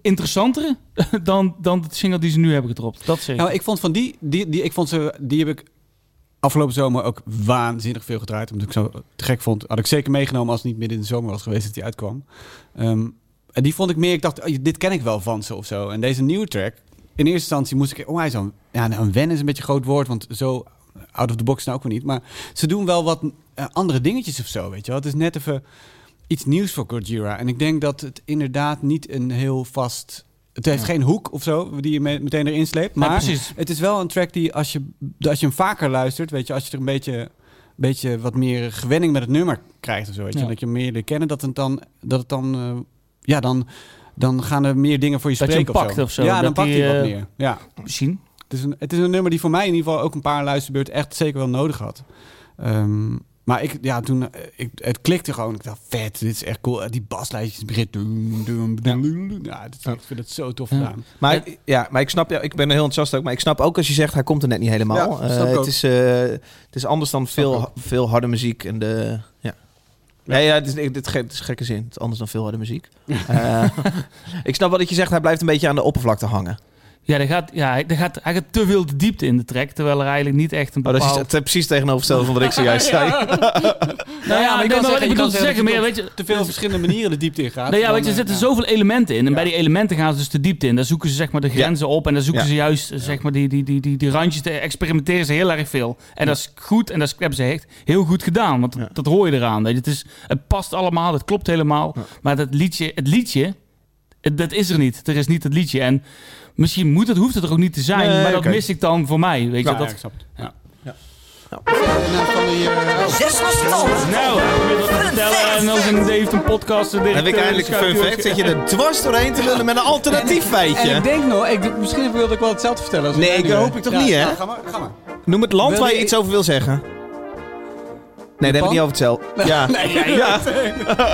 D: Interessantere dan, dan de single die ze nu hebben gedropt. Dat zeker.
B: Nou, ik vond van die, die, die, ik vond ze, die heb ik afgelopen zomer ook waanzinnig veel gedraaid. Omdat ik zo te gek vond. Had ik zeker meegenomen als het niet midden in de zomer was geweest dat die uitkwam. Ehm, en die vond ik meer, ik dacht, oh, dit ken ik wel van ze of zo. En deze nieuwe track, in eerste instantie moest ik, oh hij is aan, ja, nou, een wen is een beetje een groot woord, want zo out of the box nou ook weer niet. Maar ze doen wel wat eh, andere dingetjes of zo, weet je wel. Het is net even iets nieuws voor Gojira. En ik denk dat het inderdaad niet een heel vast... Het heeft geen hoek of zo die je me- meteen erin sleept.
D: Nee,
B: Maar
D: precies.
B: het is wel een track die als je, als je hem vaker luistert, weet je, als je er een beetje, beetje wat meer gewenning met het nummer krijgt of zo, weet je,
D: Ja.
B: dat je hem meer leert kennen, dat het dan, dat het dan, eh, ja, dan, dan gaan er meer dingen voor je
D: Dat je
B: spreken
D: hem
B: of,
D: pakt
B: zo.
D: of zo,
B: Ja, dan
D: dat
B: pakt
D: die,
B: hij wat
D: eh,
B: meer. Ja.
D: Misschien.
B: is, een, het is een nummer die voor mij in ieder geval ook een paar luisterbeurten echt zeker wel nodig had. Ehm, maar ik, ja, toen, eh, ik, het klikte gewoon. Ik dacht, vet, dit is echt cool. Eh, Die baslijstjes begint. doen, doen, doen, doen. Ja, dit- ik vind het zo tof
D: Ja.
B: gedaan.
A: Maar, ik- ja, maar ik snap, ja, ik ben er heel enthousiast ook. Maar ik snap ook als je zegt, hij komt er net niet helemaal.
B: Ja,
A: Eh,
B: snap ik ook.
A: het, is, eh, het is anders dan
B: ik
A: veel,
B: ook.
A: veel harde muziek. En de, ja. Nee, ja, het is, dit, ge- het is gekke zin. Het is anders dan veel harde muziek. Eh, ik snap wel dat je zegt, hij blijft een beetje aan de oppervlakte hangen. Oh,
D: Ja, daar gaat, ja hij, daar gaat, hij gaat te veel de diepte in de track, terwijl er eigenlijk niet echt een
A: Oh, dat is
D: bepaald...
A: het is precies tegenovergestelde van wat ik zojuist zei.
D: Nou ja,
B: maar je kan
D: ik weet wel wat
B: zeggen- je
D: ik
B: eh,
D: bedoel
B: kan zeggen
D: te zeggen, maar ja,
B: dat
D: weet je...
B: Te veel verschillende manieren de diepte in gaat.
D: Nou ja,
B: Dan,
D: weet je, er
B: eh,
D: zitten
B: ja.
D: zoveel elementen in. En
B: Ja.
D: bij die elementen gaan ze dus de diepte in. Daar zoeken ze zeg maar de grenzen op. En daar zoeken
A: Ja.
D: ze juist eh, zeg maar die, die, die, die, die randjes. Daar experimenteren ze heel erg veel. En dat is goed. En dat is- hebben ze echt heel goed gedaan. Want dat,
A: Ja.
D: dat hoor je eraan. Weet je. Het, is, het past allemaal. Het klopt helemaal. Maar dat liedje, het liedje, het- dat is er niet. Er is niet het liedje. En misschien moet het, hoeft het er ook niet te zijn.
A: Nee,
D: maar dat
A: oké.
D: mis ik dan voor mij. Weet je,
B: Ja,
D: dat,
B: ik snap het. Ja.
A: Ja.
B: En dan van die, eh, oh,
C: Zes losse tanden.
D: Nou, ik wil dat
A: eh,
D: vertellen. En als een Dave heeft een podcast. de
A: Dan heb ik
D: directeur,
A: eindelijk een fun
D: schuift-
A: fact. Zit je er dwars doorheen te lullen met een alternatief
B: En ik
A: feitje.
B: denk nog, ik, misschien wilde ik wel hetzelfde vertellen. Als
A: Nee,
B: jij nu
A: ik
B: bent.
A: hoop ik toch
B: Ja,
A: niet, hè?
B: ja, ga maar, ga maar.
A: Noem het land
B: Wil
A: waar je
B: je-
A: iets over wil zeggen. Nee, daar heb ik niet over hetzelfde. Ja. ja.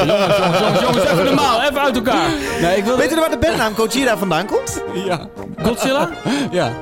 D: Jongens, jongens, even normaal. Even uit elkaar.
B: Nee, ik wilde...
A: Weet je waar de bandnaam Gojira vandaan komt?
B: Ja.
D: Godzilla?
B: Ja.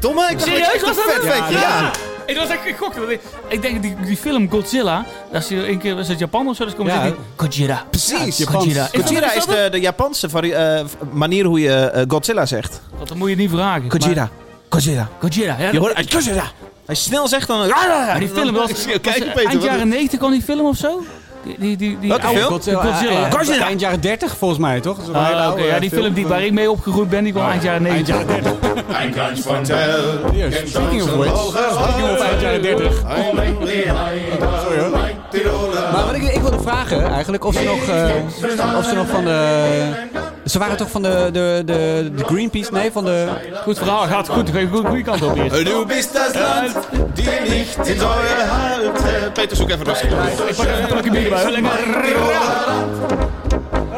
A: Domme, ik dacht
D: Serieus,
A: dat je echt
D: was
A: een
D: dat
A: vet
D: het?
A: ventje, ja.
D: Ik was echt ik gokte dat ik, ik denk die, die film Godzilla, dat is hier een keer was het Japan of zo, dus komen
B: Ja.
D: ze die Godzilla.
A: Precies.
B: Ja, Japans.
D: Godzilla.
B: Ja.
A: Gojira is de, de Japanse vari- eh, v- manier hoe je eh, Godzilla zegt.
D: Want dan moet je het niet vragen. maar-
A: Gojira.
D: Godzilla. Ja,
A: Je
D: dat-
A: hoort uit Gojira. Als je snel zegt dan...
D: maar die film was, was
A: Kijk,
D: eind jaren
A: Peter.
D: 90 kwam die film of zo? Die, die, die, die
A: Welke
D: oude
A: film?
D: Godzilla. Godzilla.
A: Godzilla.
B: eh, Eind jaren 30 volgens mij, toch? Dat is een
D: Ah,
B: hele
D: oké,
B: oude,
D: ja, die film die, waar ik mee opgegroeid ben, die kwam eind jaren 90.
B: Eind jaren 30.
G: Ein kleines Vertel,
B: Yes.
G: kennt
B: Speaking of
G: sonst
B: which,
G: auch
B: Speaking of eind jaren 30.
G: ein Lenklein, ein Tiroler.
B: Maar wat ik, ik wilde vragen eigenlijk of ze nog, eh, of ze nog van de... Ze waren toch van de, de, de, de Greenpeace? Nee, van de...
D: Goed verhaal, Ah, gaat goed. Ga je goed goede kant op hier.
G: Du bist das Land, die nicht in Säure halten. Peter, zoek even rustig.
D: Ik pak even een plakje bier erbij.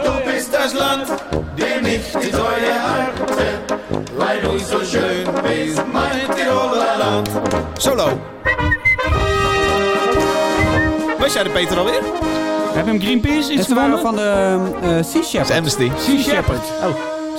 G: Du bist das Land, die nicht in Säure halten. Weil du so schön bist, mein Tiroler Land.
A: Solo. Was jij de Peter alweer? Dat
D: Heb je hem Greenpeace iets
B: Ze waren
D: gevonden?
B: van de eh, Sea
A: is
B: Shepherd. Oh,
A: Amnesty.
D: Sea Shepherd.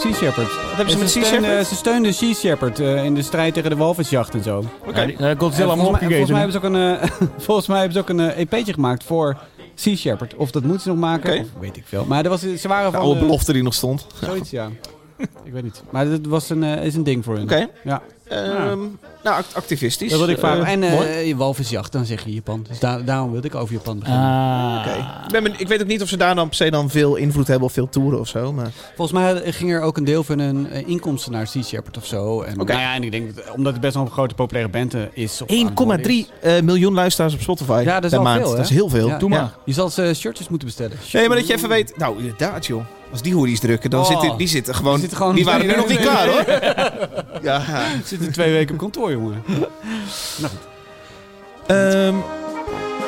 B: Sea Shepherd.
A: hebben ze
B: En
A: met Sea
B: steunen-
A: Shepherd?
B: Ze steunden Sea Shepherd eh, in de strijd tegen de walvisjacht en zo.
D: Ja, die- eh,
B: En
D: Godzilla hem
B: volgens, mij, en volgens mij
D: opgegeten.
B: hebben ze ook een, eh, volgens mij hebben ze ook een eh, EP'tje gemaakt voor Sea Shepherd. Of dat moeten ze nog maken,
A: Oké.
B: of weet ik veel. Maar er was, ze waren
A: De
B: van...
A: oude
B: eh,
A: belofte die nog stond. Oké.
B: Zoiets, ja. ik weet niet. Maar dat was een, eh, is een ding voor hun. Ja,
D: Ah.
A: Ehm, nou, act- activistisch.
B: dat wilde ik
A: Eh,
B: vragen. en
A: mooi.
B: eh walvisjacht, dan zeg je Japan. Dus daar- daarom wilde ik over Japan beginnen.
D: Ah.
A: Oké. Ik, ben benieu- ik weet ook niet of ze daar dan per se dan veel invloed hebben of veel toeren of zo. Maar...
B: Volgens mij ging er ook een deel van hun eh, inkomsten naar Sea Shepherd of zo. En,
A: Oké.
B: nou ja, en ik denk, dat, omdat het best wel een grote populaire band eh, is. of aan het worden
A: 1,3 eh, miljoen luisteraars op Spotify
B: Ja, dat is
A: per
B: wel
A: maand.
B: veel, hè?
A: dat is heel veel.
B: Ja.
D: Doe
A: Ja.
D: maar.
B: Je zal ze shirtjes moeten bestellen.
A: Nee, maar dat je even weet... Nou, inderdaad joh. Als die hoodies drukken, dan
B: Oh.
A: zitten die zitten gewoon... Die,
B: Die zitten gewoon-
A: waren nu
B: Nee,
A: nog niet
B: nee,
A: klaar hoor. ja.
B: Zitten twee weken op kantoor, jongen.
A: Ehm,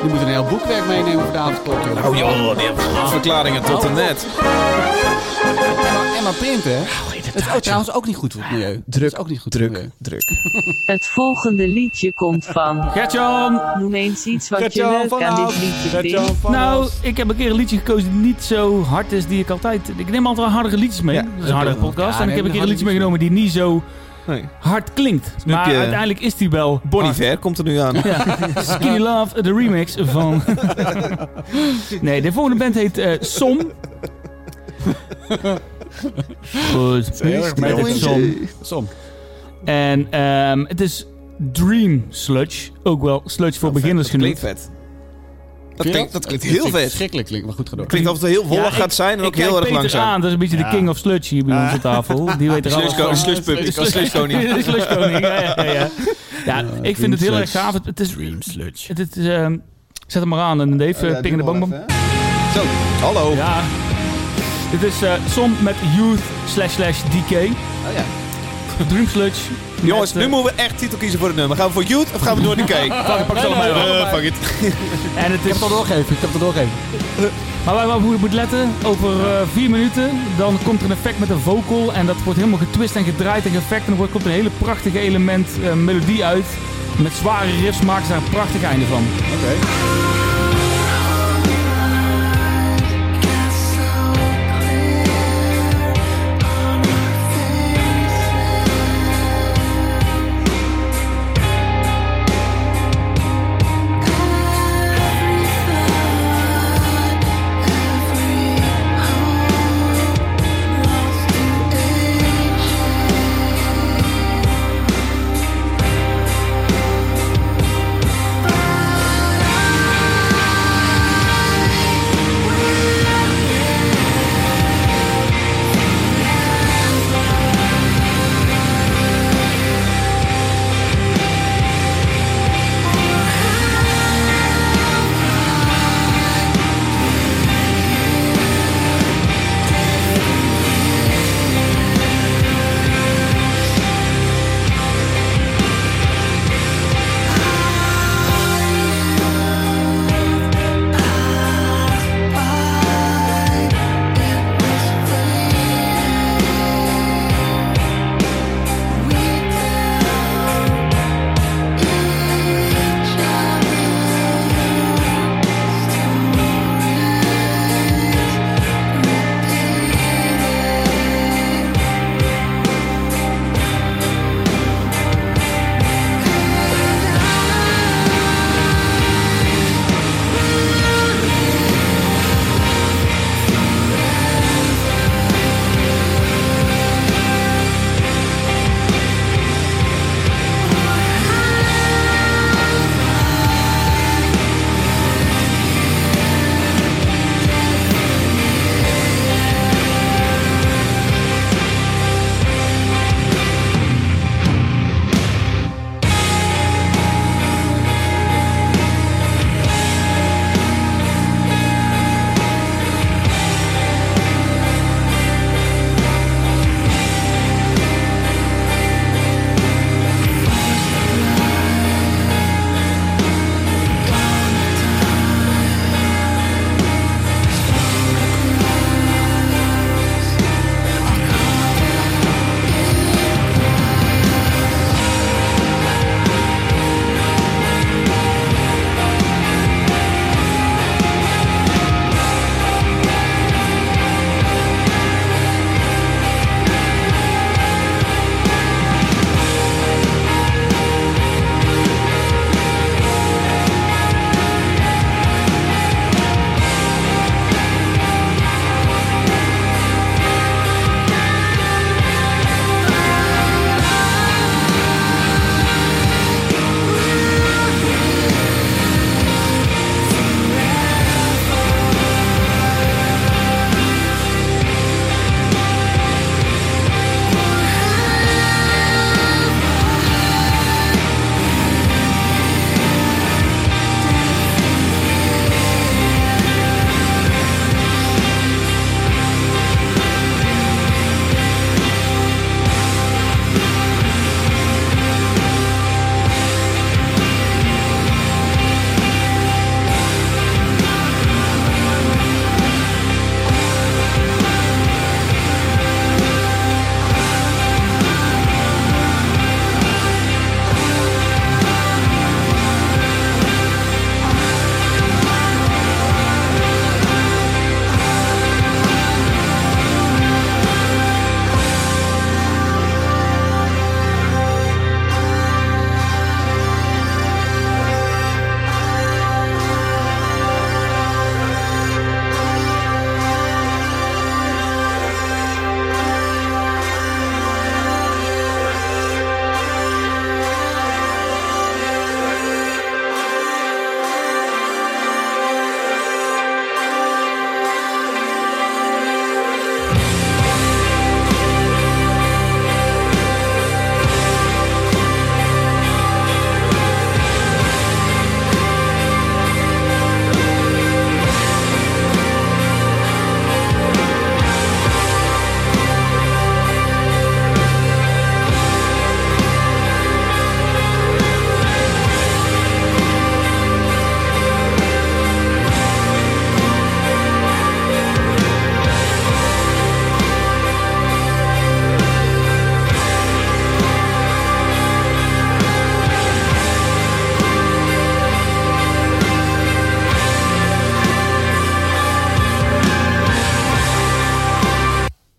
B: Je moet een heel boekwerk meenemen voor de avondklok, joh.
A: oh joh, die hebben verklaringen tot en net.
B: Emma, Emma print, hè? Het is ook trouwens ook niet goed voor het milieu. Druk. is ook niet goed voor
A: Druk,
B: het
A: druk.
E: Het volgende liedje komt van.
D: Gertjan!
E: Noem eens iets wat je
B: milieu.
E: leuk aan dit liedje vindt.
D: Nou, ik heb een keer een liedje gekozen die niet zo hard is, die ik altijd... Ik neem altijd wel hardere liedjes mee.
A: Ja,
D: dat is een hardere podcast.
B: Ja,
D: en ik
B: neem
D: heb een
B: je
D: keer een
B: harde
D: liedje meegenomen die niet zo
A: Nee.
D: hard klinkt.
A: nu heb
D: Maar
A: je-
D: uiteindelijk is die wel
A: Bon
D: hard.
A: Iver komt er nu aan.
D: Ja. Skinny Love, de remix van... nee, de volgende band heet eh, Som. Goed,
B: heel erg
D: dit is Som.
B: Som.
D: En ehm, het is Dream Sludge. Ook wel Sludge voor beginners
A: Dat
D: genoemd.
A: klinkt vet. Dat klinkt, dat klinkt heel vet.
B: Schrikkelijk klinkt, maar goed gedaan.
A: Klinkt alsof het heel wollig
D: Ja, ik-
A: gaat zijn en ook
D: Ik kijk
A: heel erg
D: Peter
A: langzaam.
D: aan, dat is een beetje de king of sludge hier bij ons aan tafel. Die weet er alles
A: Slushko-
D: van.
A: slushpup, ik was slushkoning.
D: De slushkoning, ja, ja, ja, ja. Ja, ik vind het heel erg gaaf. Het, het is,
B: Dream sludge.
D: het, het is, ehm, zet hem maar aan en Dave, eh, ping in de bang bang.
A: Zo, hallo.
D: Ja. Dit is eh som met youth slash slash DK.
A: Oh, ja.
D: Dream sludge.
A: Jongens,
D: met,
A: nu
D: eh,
A: moeten we echt titel kiezen voor het nummer. Gaan we voor Youth of gaan we door de cake?
D: pak ze allemaal
A: Eh, fuck it.
D: En het is...
B: Ik heb het al doorgegeven, ik heb het al doorgegeven.
D: Maar waar we op moeten letten, over eh, vier minuten, dan komt er een effect met een vocal. En dat wordt helemaal getwist en gedraaid en geëffect. En dan wordt- komt er een hele prachtige element eh, melodie uit. Met zware riffs maken ze daar een prachtig einde van.
F: Bye.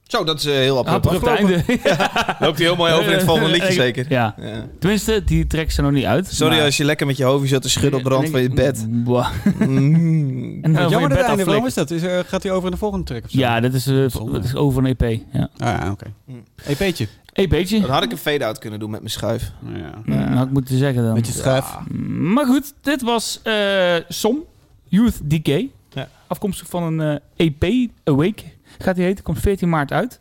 A: Zo, dat is eh, heel apart.
D: Abrupt
A: afgelopen.
D: einde.
A: Loopt hij heel mooi over in het volgende liedje zeker.
D: Ja.
A: Ja.
D: Tenminste, die tracks zijn nog niet uit.
A: Sorry
D: maar-
A: als je lekker met je hoofdje zat te schudden op de rand van je bed.
D: Boah.
A: Mm.
D: En dan
B: Jammer
D: van
B: dat
D: je
B: het einde
D: bed
B: van hem
D: aflikken.
B: is dat. Is er, gaat hij over in de volgende track of zo?
D: Ja, dat is, eh,
B: Zonde.
D: dat is over een EP. Ja.
B: Ah, ja, oké. EP'tje.
D: Een beetje.
A: Dan had ik een fade-out kunnen doen met mijn schuif.
B: Nou Ja. Ah,
D: Ja, had ik moeten zeggen dan.
B: Met je schuif.
D: Maar goed, dit was eh, Som, Youth Decay.
A: Ja.
D: Afkomstig van een eh, EP, Awake gaat die heten. Komt 14 maart uit.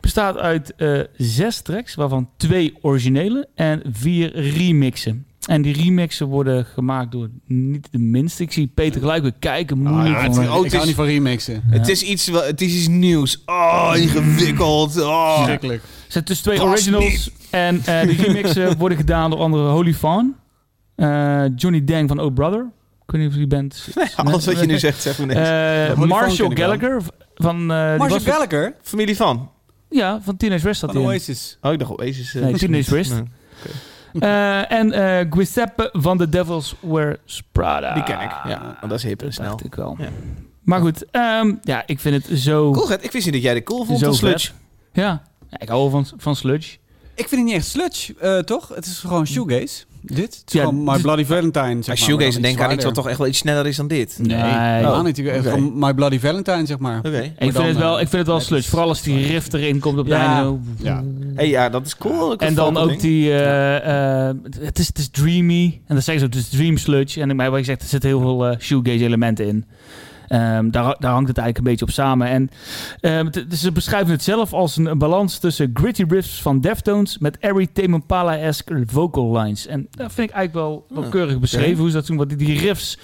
D: Bestaat uit eh, zes tracks, waarvan twee originele en vier remixen. En die remixen worden gemaakt door niet de minste. Ik zie Peter gelijk weer kijken. Moeilijk.
A: Ah, ja, het
D: van-
A: is ook-
B: Ik hou niet van remixen.
A: Het, is iets, wel- het is iets nieuws. Oh, ingewikkeld. Oh.
B: Schrikkelijk.
D: Er zijn dus twee
A: Pas
D: originals. En eh, de remixen worden gedaan door andere Holy Fawn. eh, Johnny Dang van Oh Brother. Ik weet niet of die band...
A: Alles wat je nu zegt, zeg maar niks.
D: Eh,
B: Holy Fawn
D: Marshall
B: ken ik wel.
D: Gallagher van... eh, die
B: Marshall
D: was-
B: Gallagher
A: Familie van?
D: Ja, van Teenage West zat
B: van
D: hij in.
B: Oasis.
A: Oh, ik dacht Oasis. eh,
D: Nee, Teenage Wrist.
A: Nee.
D: Eh, en eh Giuseppe van The Devils Wears Prada.
A: Die ken ik. Ja, want dat is hip en
D: Dat
A: snel.
D: dacht ik wel.
A: Ja.
D: Maar goed, ehm, ja, ik vind het zo...
A: Cool, Gert. Ik wist niet dat jij de cool vond,
D: Zo
A: van Sludge.
D: Ja. Ja, ik hou wel van, van sludge.
B: Ik vind het niet echt sludge, eh, toch? Het is gewoon shoegaze. Dit? Het is
D: Ja,
B: gewoon My
D: dit-
B: Bloody Valentine, zeg
A: Als
B: maar. maar dan
A: shoegaze,
B: iets
A: denk aan iets wat
B: zwaarder.
A: toch echt wel iets sneller is dan dit.
D: Nee. Oh,
A: Oh.
B: Ja, niet. Ik-
A: Oké.
B: Gewoon My Bloody Valentine, zeg maar.
A: Oké.
D: Ik
B: dan,
D: vind, het wel,
B: eh,
D: ik vind het wel
B: net
D: sludge.
B: iets-
D: Vooral als die riff erin komt op het
B: Ja.
D: einde.
B: Ja.
A: Hey, ja, dat is cool. Ik
D: En
A: vond
D: dan
A: dat
D: ook
A: ding.
D: die... eh, eh, het, is, het is dreamy. En dan zeggen ze ook, het is dream sludge. En ik- maar wat ik zeg, er zitten heel veel eh, shoegaze elementen in. Ehm, daar, daar hangt het eigenlijk een beetje op samen. En ehm, het- ze beschrijven het zelf als een, een balans tussen gritty riffs van Deftones... met airy Tame Impala-esque vocal lines. En dat vind ik eigenlijk wel, wel
A: Ja.
D: keurig beschreven hoe ze dat doen. Want die, die riffs,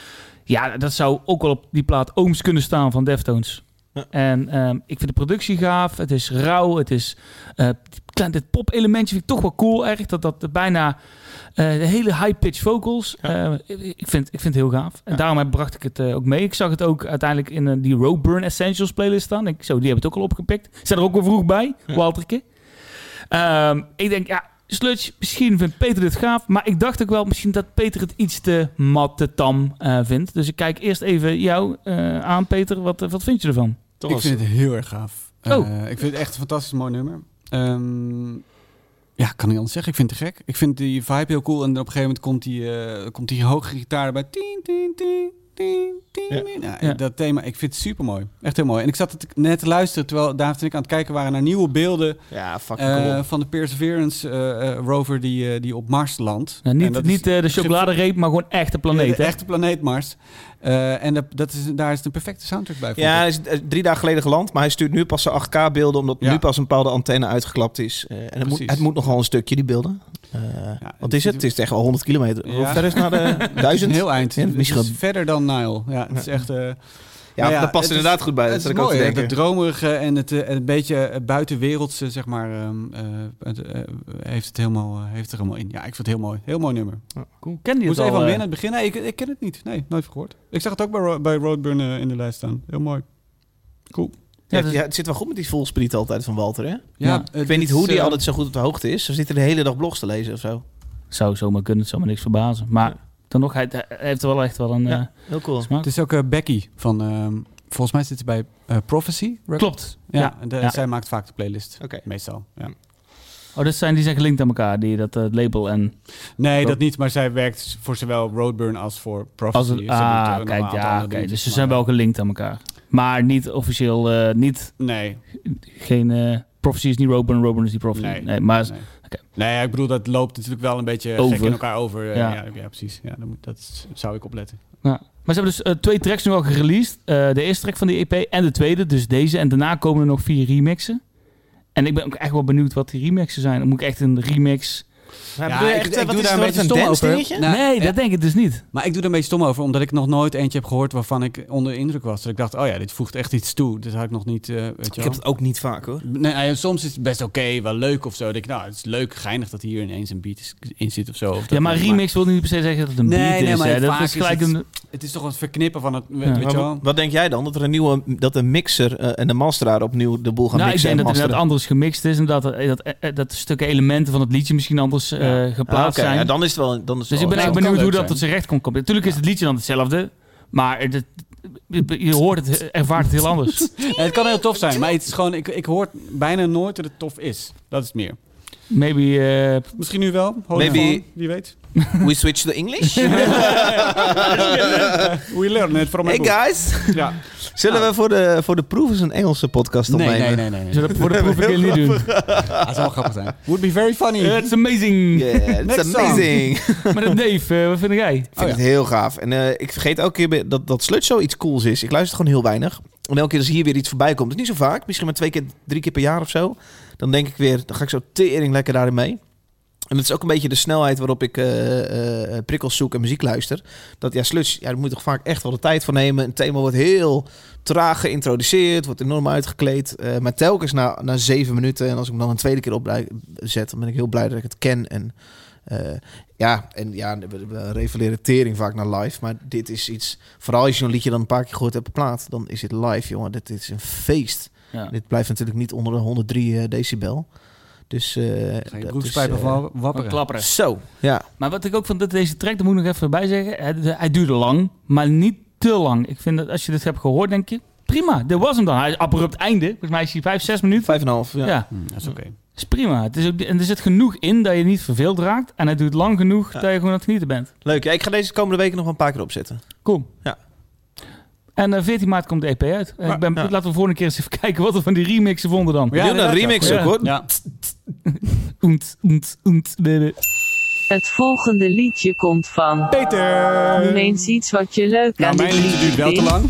D: ja, dat zou ook wel op die plaat Ooms kunnen staan van Deftones.
A: Ja.
D: En ehm, ik vind de productie gaaf. Het is rauw. Het is eh, klein, dit pop-elementje vind ik toch wel cool. Erg dat dat bijna eh, de hele high-pitch vocals. eh, ik, ik vind, ik vind het heel gaaf. En daarom heb- bracht ik het eh, ook mee. Ik zag het ook uiteindelijk in eh, die Roadburn Essentials playlist staan. Ik, zo, die hebben het ook al opgepikt. Zijn er ook wel vroeg bij, Walterke. Ehm, ik denk, ja, Sludge, misschien vindt Peter dit gaaf. Maar ik dacht ook wel misschien dat Peter het iets te mat, te tam eh, vindt. Dus ik kijk eerst even jou eh, aan, Peter. Wat, eh, wat vind je ervan?
A: Toch
B: Ik
A: was-
B: vind het heel erg gaaf. Eh,
D: Oh.
B: ik vind het echt een fantastisch mooi nummer. Ehm, ja, ik kan niet anders zeggen. Ik vind het te gek. Ik vind die vibe heel cool. En op een gegeven moment komt die, eh, komt die hoge gitaar erbij. Tien, tien, tien, tien, tien.
A: Ja.
B: Nou,
D: Ja.
B: Dat thema, ik vind het super mooi. Echt heel mooi. En ik zat het net te luisteren terwijl David en ik aan het kijken waren naar nieuwe beelden
A: Ja, fucking
B: eh,
A: cool.
B: van de Perseverance eh, eh, rover die, eh, die op Mars landt.
D: Nou,
B: En
D: niet
B: dat
D: niet
B: is-
D: eh, de chocoladereep, maar gewoon echt de planeet.
B: Ja, de
D: hè?
B: echte planeet Mars. Eh, en dat, dat is, daar is het een perfecte soundtrack bij. vond
A: Ja,
B: ik.
A: hij is eh, drie dagen geleden geland, maar hij stuurt nu pas zijn 8K-beelden, omdat
B: Ja.
A: nu pas een bepaalde antenne uitgeklapt is. Eh, en het moet,
B: Precies.
A: het moet nogal een stukje, die beelden. Eh, wat
B: het
A: is
B: is-
A: het? Het is echt wel 100 kilometer.
B: Ja.
A: Hoe ver is het naar de
B: Het is een
A: 1000?
B: heel eind.
A: Ja, misschien
B: Het is
A: wel-
B: verder dan Nile. Ja, het is echt... eh,
A: Ja,
B: nou ja,
A: dat past
B: het is-
A: inderdaad goed bij. Dat
B: het
A: zat
B: is
A: ik ook te
B: mooi, hè,
A: denken.
B: dat dromerige en het, eh, en het beetje eh, buitenwereldse, zeg maar, ehm, eh, het, eh, heeft, het helemaal, eh, heeft er helemaal in. Ja, ik vind het heel mooi. Heel mooi nummer.
D: Cool. Ken die
B: Moest
D: het
B: even
D: al?
B: aan wennen
D: eh?
B: aan het begin. Nee, ik, ik ken het niet. Nee, nooit van gehoord. Ik zag het ook bij, Ro- bij Roadburn eh, in de lijst staan. Heel mooi. Cool.
A: Ja,
D: Ja,
A: het-
D: dus-
A: ja, het zit wel goed met die volspriet altijd van Walter, hè?
D: Ja,
B: eh,
A: Ik weet niet
B: dit
A: hoe
B: is,
A: die
B: eh,
A: altijd zo goed op de hoogte is. Ze zitten de hele dag blogs te lezen of zo.
D: Zou zomaar kunnen, het zou me niks verbazen. Maar dan nog, hij, hij heeft er wel echt wel een
A: Ja.
D: eh,
A: Heel cool.
D: smaak.
B: Het is ook eh, Becky van... ehm, volgens mij zit ze bij eh, Prophecy.
D: Klopt.
B: Ja,
D: Ja.
B: en de-
D: Ja.
B: zij maakt vaak de playlist.
A: Oké.
B: Meestal, ja.
D: Oh, dat zijn, die zijn gelinkt aan elkaar, die, dat eh, label en...
B: Nee,
D: Rob-
B: dat niet. Maar zij werkt voor zowel Roadburn als voor Prophecy.
D: Als
B: Ze
D: het,
B: doet er nog
D: ah,
B: een
D: kijk,
B: aantal
D: ja,
B: andere
D: oké.
B: dingetjes,
D: dus ze
B: maar-
D: zijn wel gelinkt aan elkaar. Maar niet officieel, eh, niet,
B: Nee,
D: geen... eh prophecy is niet Robin, Robin is niet Prophecy. Nee,
B: Nee.
D: maar
B: nee.
D: oké.
B: Nee, ja, ik bedoel, dat loopt natuurlijk wel een beetje over.
D: Over.
B: in elkaar over. eh,
D: Ja.
B: Ja, ja, precies. Ja, dan moet, dat is- zou ik opletten.
D: Ja. Maar ze hebben dus eh, twee tracks nu al gereleased. Eh, de eerste track van die EP en de tweede, dus deze. En daarna komen er nog vier remixen. En ik ben ook echt wel benieuwd wat die remixen zijn. Dan moet ik echt een remix...
A: Maar
B: Ja,
A: bedoel je
B: ik-
A: echt,
B: ik
A: eh,
B: doe
A: wat is
B: daar
A: het, wat
B: een beetje
A: een
B: stom
A: dance
B: over.
A: dingetje?
B: Nou,
D: nee,
B: eh,
D: dat denk ik dus niet.
B: Maar ik doe er een beetje stom over, omdat ik nog nooit eentje heb gehoord waarvan ik onder de indruk was. Dat ik dacht, oh ja, dit voegt echt iets toe. Dat had ik nog niet, eh, weet je
A: Ik
B: wel.
A: heb het ook niet vaak, hoor.
B: Nee, eh, soms is het best oké, wel leuk of zo. Dan denk ik, nou, het is leuk, geinig dat hier ineens een beat is- in zit of zo. Of dat
D: Ja, maar
B: niet,
D: remix wil niet per se zeggen dat het een
B: Nee,
D: beat
B: nee,
D: is.
B: maar
D: hè. Dat
B: vaak
D: is
B: is
D: gelijk
B: het-
D: een...
B: Het is toch wat verknippen van het,
D: Ja.
B: weet je
A: Maar
B: wel.
A: wat, wat denk jij dan? Dat er een nieuwe, dat een mixer eh, en een masteraar opnieuw de boel gaan
D: Nou, ik
A: mixen
D: denk
A: en
D: dat
A: masteren?
D: het inderdaad anders gemixt is. En dat, eh, dat, eh, dat stukken elementen van het liedje misschien anders eh,
A: Ah,
D: geplaatst
A: Oké, ja,
D: zijn.
A: dan oh, is het wel... Dan is het
D: dus
A: wel-
D: ik ben
B: dat
D: echt
B: kan
D: benieuwd
B: leuk
D: hoe dat
B: zijn.
D: tot zijn recht kon komen. Natuurlijk is het liedje dan hetzelfde. Maar het, je hoort het, eh, ervaart het heel anders.
B: Ja, het kan heel tof zijn, maar het is gewoon, ik, ik hoor bijna nooit dat het tof is. Dat is het meer.
D: Maybe eh,
B: Misschien nu wel. holy
A: Maybe-
B: fan, Wie weet.
A: We switch to English.
B: We learn it from a
A: hey
B: book.
A: guys.
B: Ja.
A: Zullen we voor de, voor de proef eens een Engelse podcast
B: Nee,
A: opnemen?
B: nee, nee, nee. nee.
D: zullen we dat voor de proef een keer niet doen.
B: Ah, het zou wel grappig zijn. Would be very funny.
D: It's amazing.
A: Yeah,
B: Next
A: it's
B: song.
A: amazing.
D: Maar dat Dave, eh, wat vind jij?
A: Ik vind
B: Oh ja.
A: het heel gaaf. En eh, ik vergeet elke keer weer dat, dat Slutshow iets cools is. Ik luister gewoon heel weinig. En elke keer als hier weer iets voorbij komt, het is niet zo vaak. Misschien maar twee keer, drie keer per jaar of zo. Dan denk ik weer, dan ga ik zo tering lekker daarin mee. En dat is ook een beetje de snelheid waarop ik eh, eh, prikkels zoek en muziek luister. Dat ja, sluts, ja, daar moet je toch vaak echt wel de tijd voor nemen. Een thema wordt heel traag geïntroduceerd, wordt enorm uitgekleed. eh, maar telkens na, na zeven minuten, en als ik hem dan een tweede keer opzet, dan ben ik heel blij dat ik het ken. En eh, ja, en ja, we, we refereren tering vaak naar live. Maar dit is iets, vooral als je een liedje dan een paar keer gehoord hebt plaat, dan is dit live, jongen. Dit is een feest.
D: Ja.
A: Dit blijft natuurlijk niet onder de 103 eh, decibel. Dus eh,
B: Ga je
A: dat
B: broekspijpen
A: is, eh,
B: van
D: Wat
B: wapperen.
D: klapperen.
A: Zo, ja.
D: Maar wat ik ook van dit- deze track, daar moet ik nog even bij zeggen. Hij, hij duurde lang, maar niet te lang. Ik vind dat als je dit hebt gehoord, denk je, prima, dit was hem dan. Hij is abrupt einde. Volgens mij is hij vijf, zes minuten.
A: Vijf en een half, ja.
D: Ja,
B: Hm, dat is oké.
D: is prima. Het is ook, en er zit genoeg in dat je niet verveeld raakt. En het duurt lang genoeg
A: Ja.
D: dat je gewoon aan het genieten bent.
A: Leuk. Ja, ik ga deze komende weken nog wel een paar keer opzetten.
D: Cool.
A: Ja.
D: En eh, 14 maart komt de EP uit. En
B: Maar-
D: ik ben,
A: ja.
D: Laten we volgende keer eens even kijken wat we van die remixen vonden dan.
A: Ja, een
B: inderdaad,
A: remix
D: ja.
A: ook, hoor.
B: Ja.
D: Oent, oent, oent. de- de-
E: Het volgende liedje komt van.
B: Peter!
E: Noem eens iets wat je leuk
B: Nou,
E: aan
B: mijn
E: dit
B: liedje duurt wel te
E: vindt.
B: lang.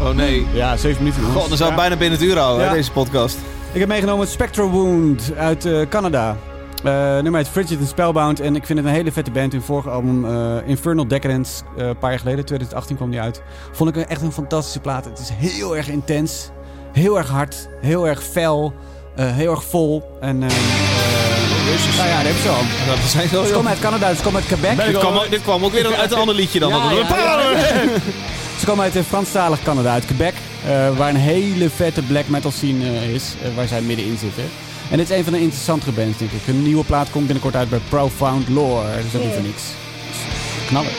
A: Oh nee.
B: Ja, zeven minuten.
A: God, dan zou
B: Ja.
A: het bijna binnen het uur houden,
B: Ja.
A: hè, deze podcast.
B: Ik heb meegenomen Spectral Wound uit eh, Canada. Eh, nummer heet Frigid and Spellbound. En ik vind het een hele vette band. In vorige album eh, Infernal Decadence, eh, een paar jaar geleden, 2018 kwam die uit. Vond ik een- echt een fantastische plaat. Het is heel erg intens, heel erg hard, heel erg fel, eh, heel erg vol. En eh eh, nou ja, dat heb je al.
A: Dat zijn zo,
B: Ze komen uit Canada, ze komen uit Quebec.
A: dit, kwam, ook- dit kwam ook weer uit een ander liedje dan.
B: Ja,
A: dat we
B: ja, Ze komen uit eh, Franstalig Canada, uit Quebec, eh, waar een hele vette black metal scene eh, is, eh, waar zij middenin zitten. En dit is een van de interessantere bands, denk ik. Hun nieuwe plaat komt binnenkort uit bij Profound Lore, dus dat is ook niet voor niks. Dus, Knallen.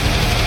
F: Thank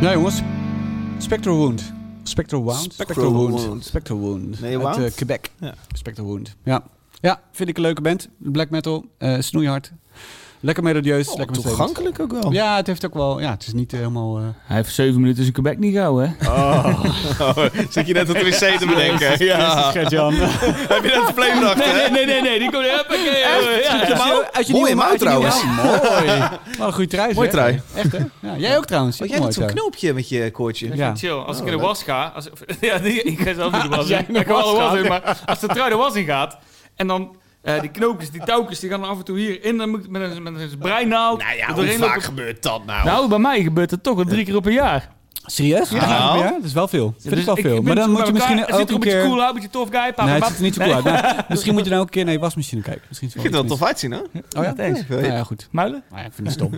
B: Nou jongens, Spectral Wound. Spectral Wound?
A: Spectral
B: Spectral
A: Wound.
B: Spectral Wound.
A: Nee,
B: Uit
A: Wound?
B: eh, Quebec.
A: Ja.
B: Spectral Wound. Ja. ja, vind ik een leuke band. Black metal, eh, snoeihard. Lekker melodieus.
A: Oh,
B: lekker meteen.
A: toegankelijk ook wel.
B: Ja, het heeft ook wel... Ja, het is niet eh, helemaal... eh,
D: Hij heeft zeven minuten zijn Quebec niet gehouden, hè?
A: zit je net het wc te bedenken? Ja. Heb je net de play bedacht,
D: Nee,
A: hè?
D: nee, nee, nee, nee. Die komt... Hoppakee, ja, ja.
B: Uit
A: Mooie mouw trouwens.
B: mooi. Wat een goede trui.
A: Mooi
B: zeg.
A: trui.
B: Echt, hè? Ja, jij ook trouwens.
A: Wat
B: Wat
A: jij hebt zo'n knoopje met je koordje.
B: Ja.
D: Chill, als
A: Oh,
D: ik in de
A: leuk.
D: was ga... Als, ja, nee, ik ga zelf niet de
B: Als
D: was
B: jij
D: in.
B: in de
D: Ik ga wel de
B: was
D: was
B: gaat.
D: in, maar als de trui de was in gaat... En dan eh, die knoopjes, die touwtjes, die gaan dan af en toe hier in. Dan moet ik met een, met een breinaald...
A: Nou ja,
D: er
A: hoe
D: doorheen
A: vaak
D: lopen.
A: gebeurt dat nou?
D: Nou, bij mij gebeurt het toch wel drie keer op een jaar.
B: Serieus? Ja.
A: Nou.
B: ja, dat is wel veel. Dat
D: Dus
B: is wel
D: ik-
B: veel.
D: ik
B: Maar
D: ben
B: dan
D: zo
B: moet je
D: bij elkaar.
B: misschien
D: Het ziet
B: ook
D: er
B: een
D: een beetje
B: keer...
D: cool uit, een beetje tof guy. papa,
B: Nee, het
D: pap.
B: ziet er niet zo cool uit. Maar misschien moet je nou ook een keer naar je wasmachine kijken. Misschien is
A: ik
B: het
A: vind het
B: wel
A: wel tof
B: iets
A: uitzien, hè?
B: mis. Oh ja? Thanks.
A: Ja, ik weet-
B: Nou ja, goed.
D: Muilen?
B: Nou ja, ik vind het stom.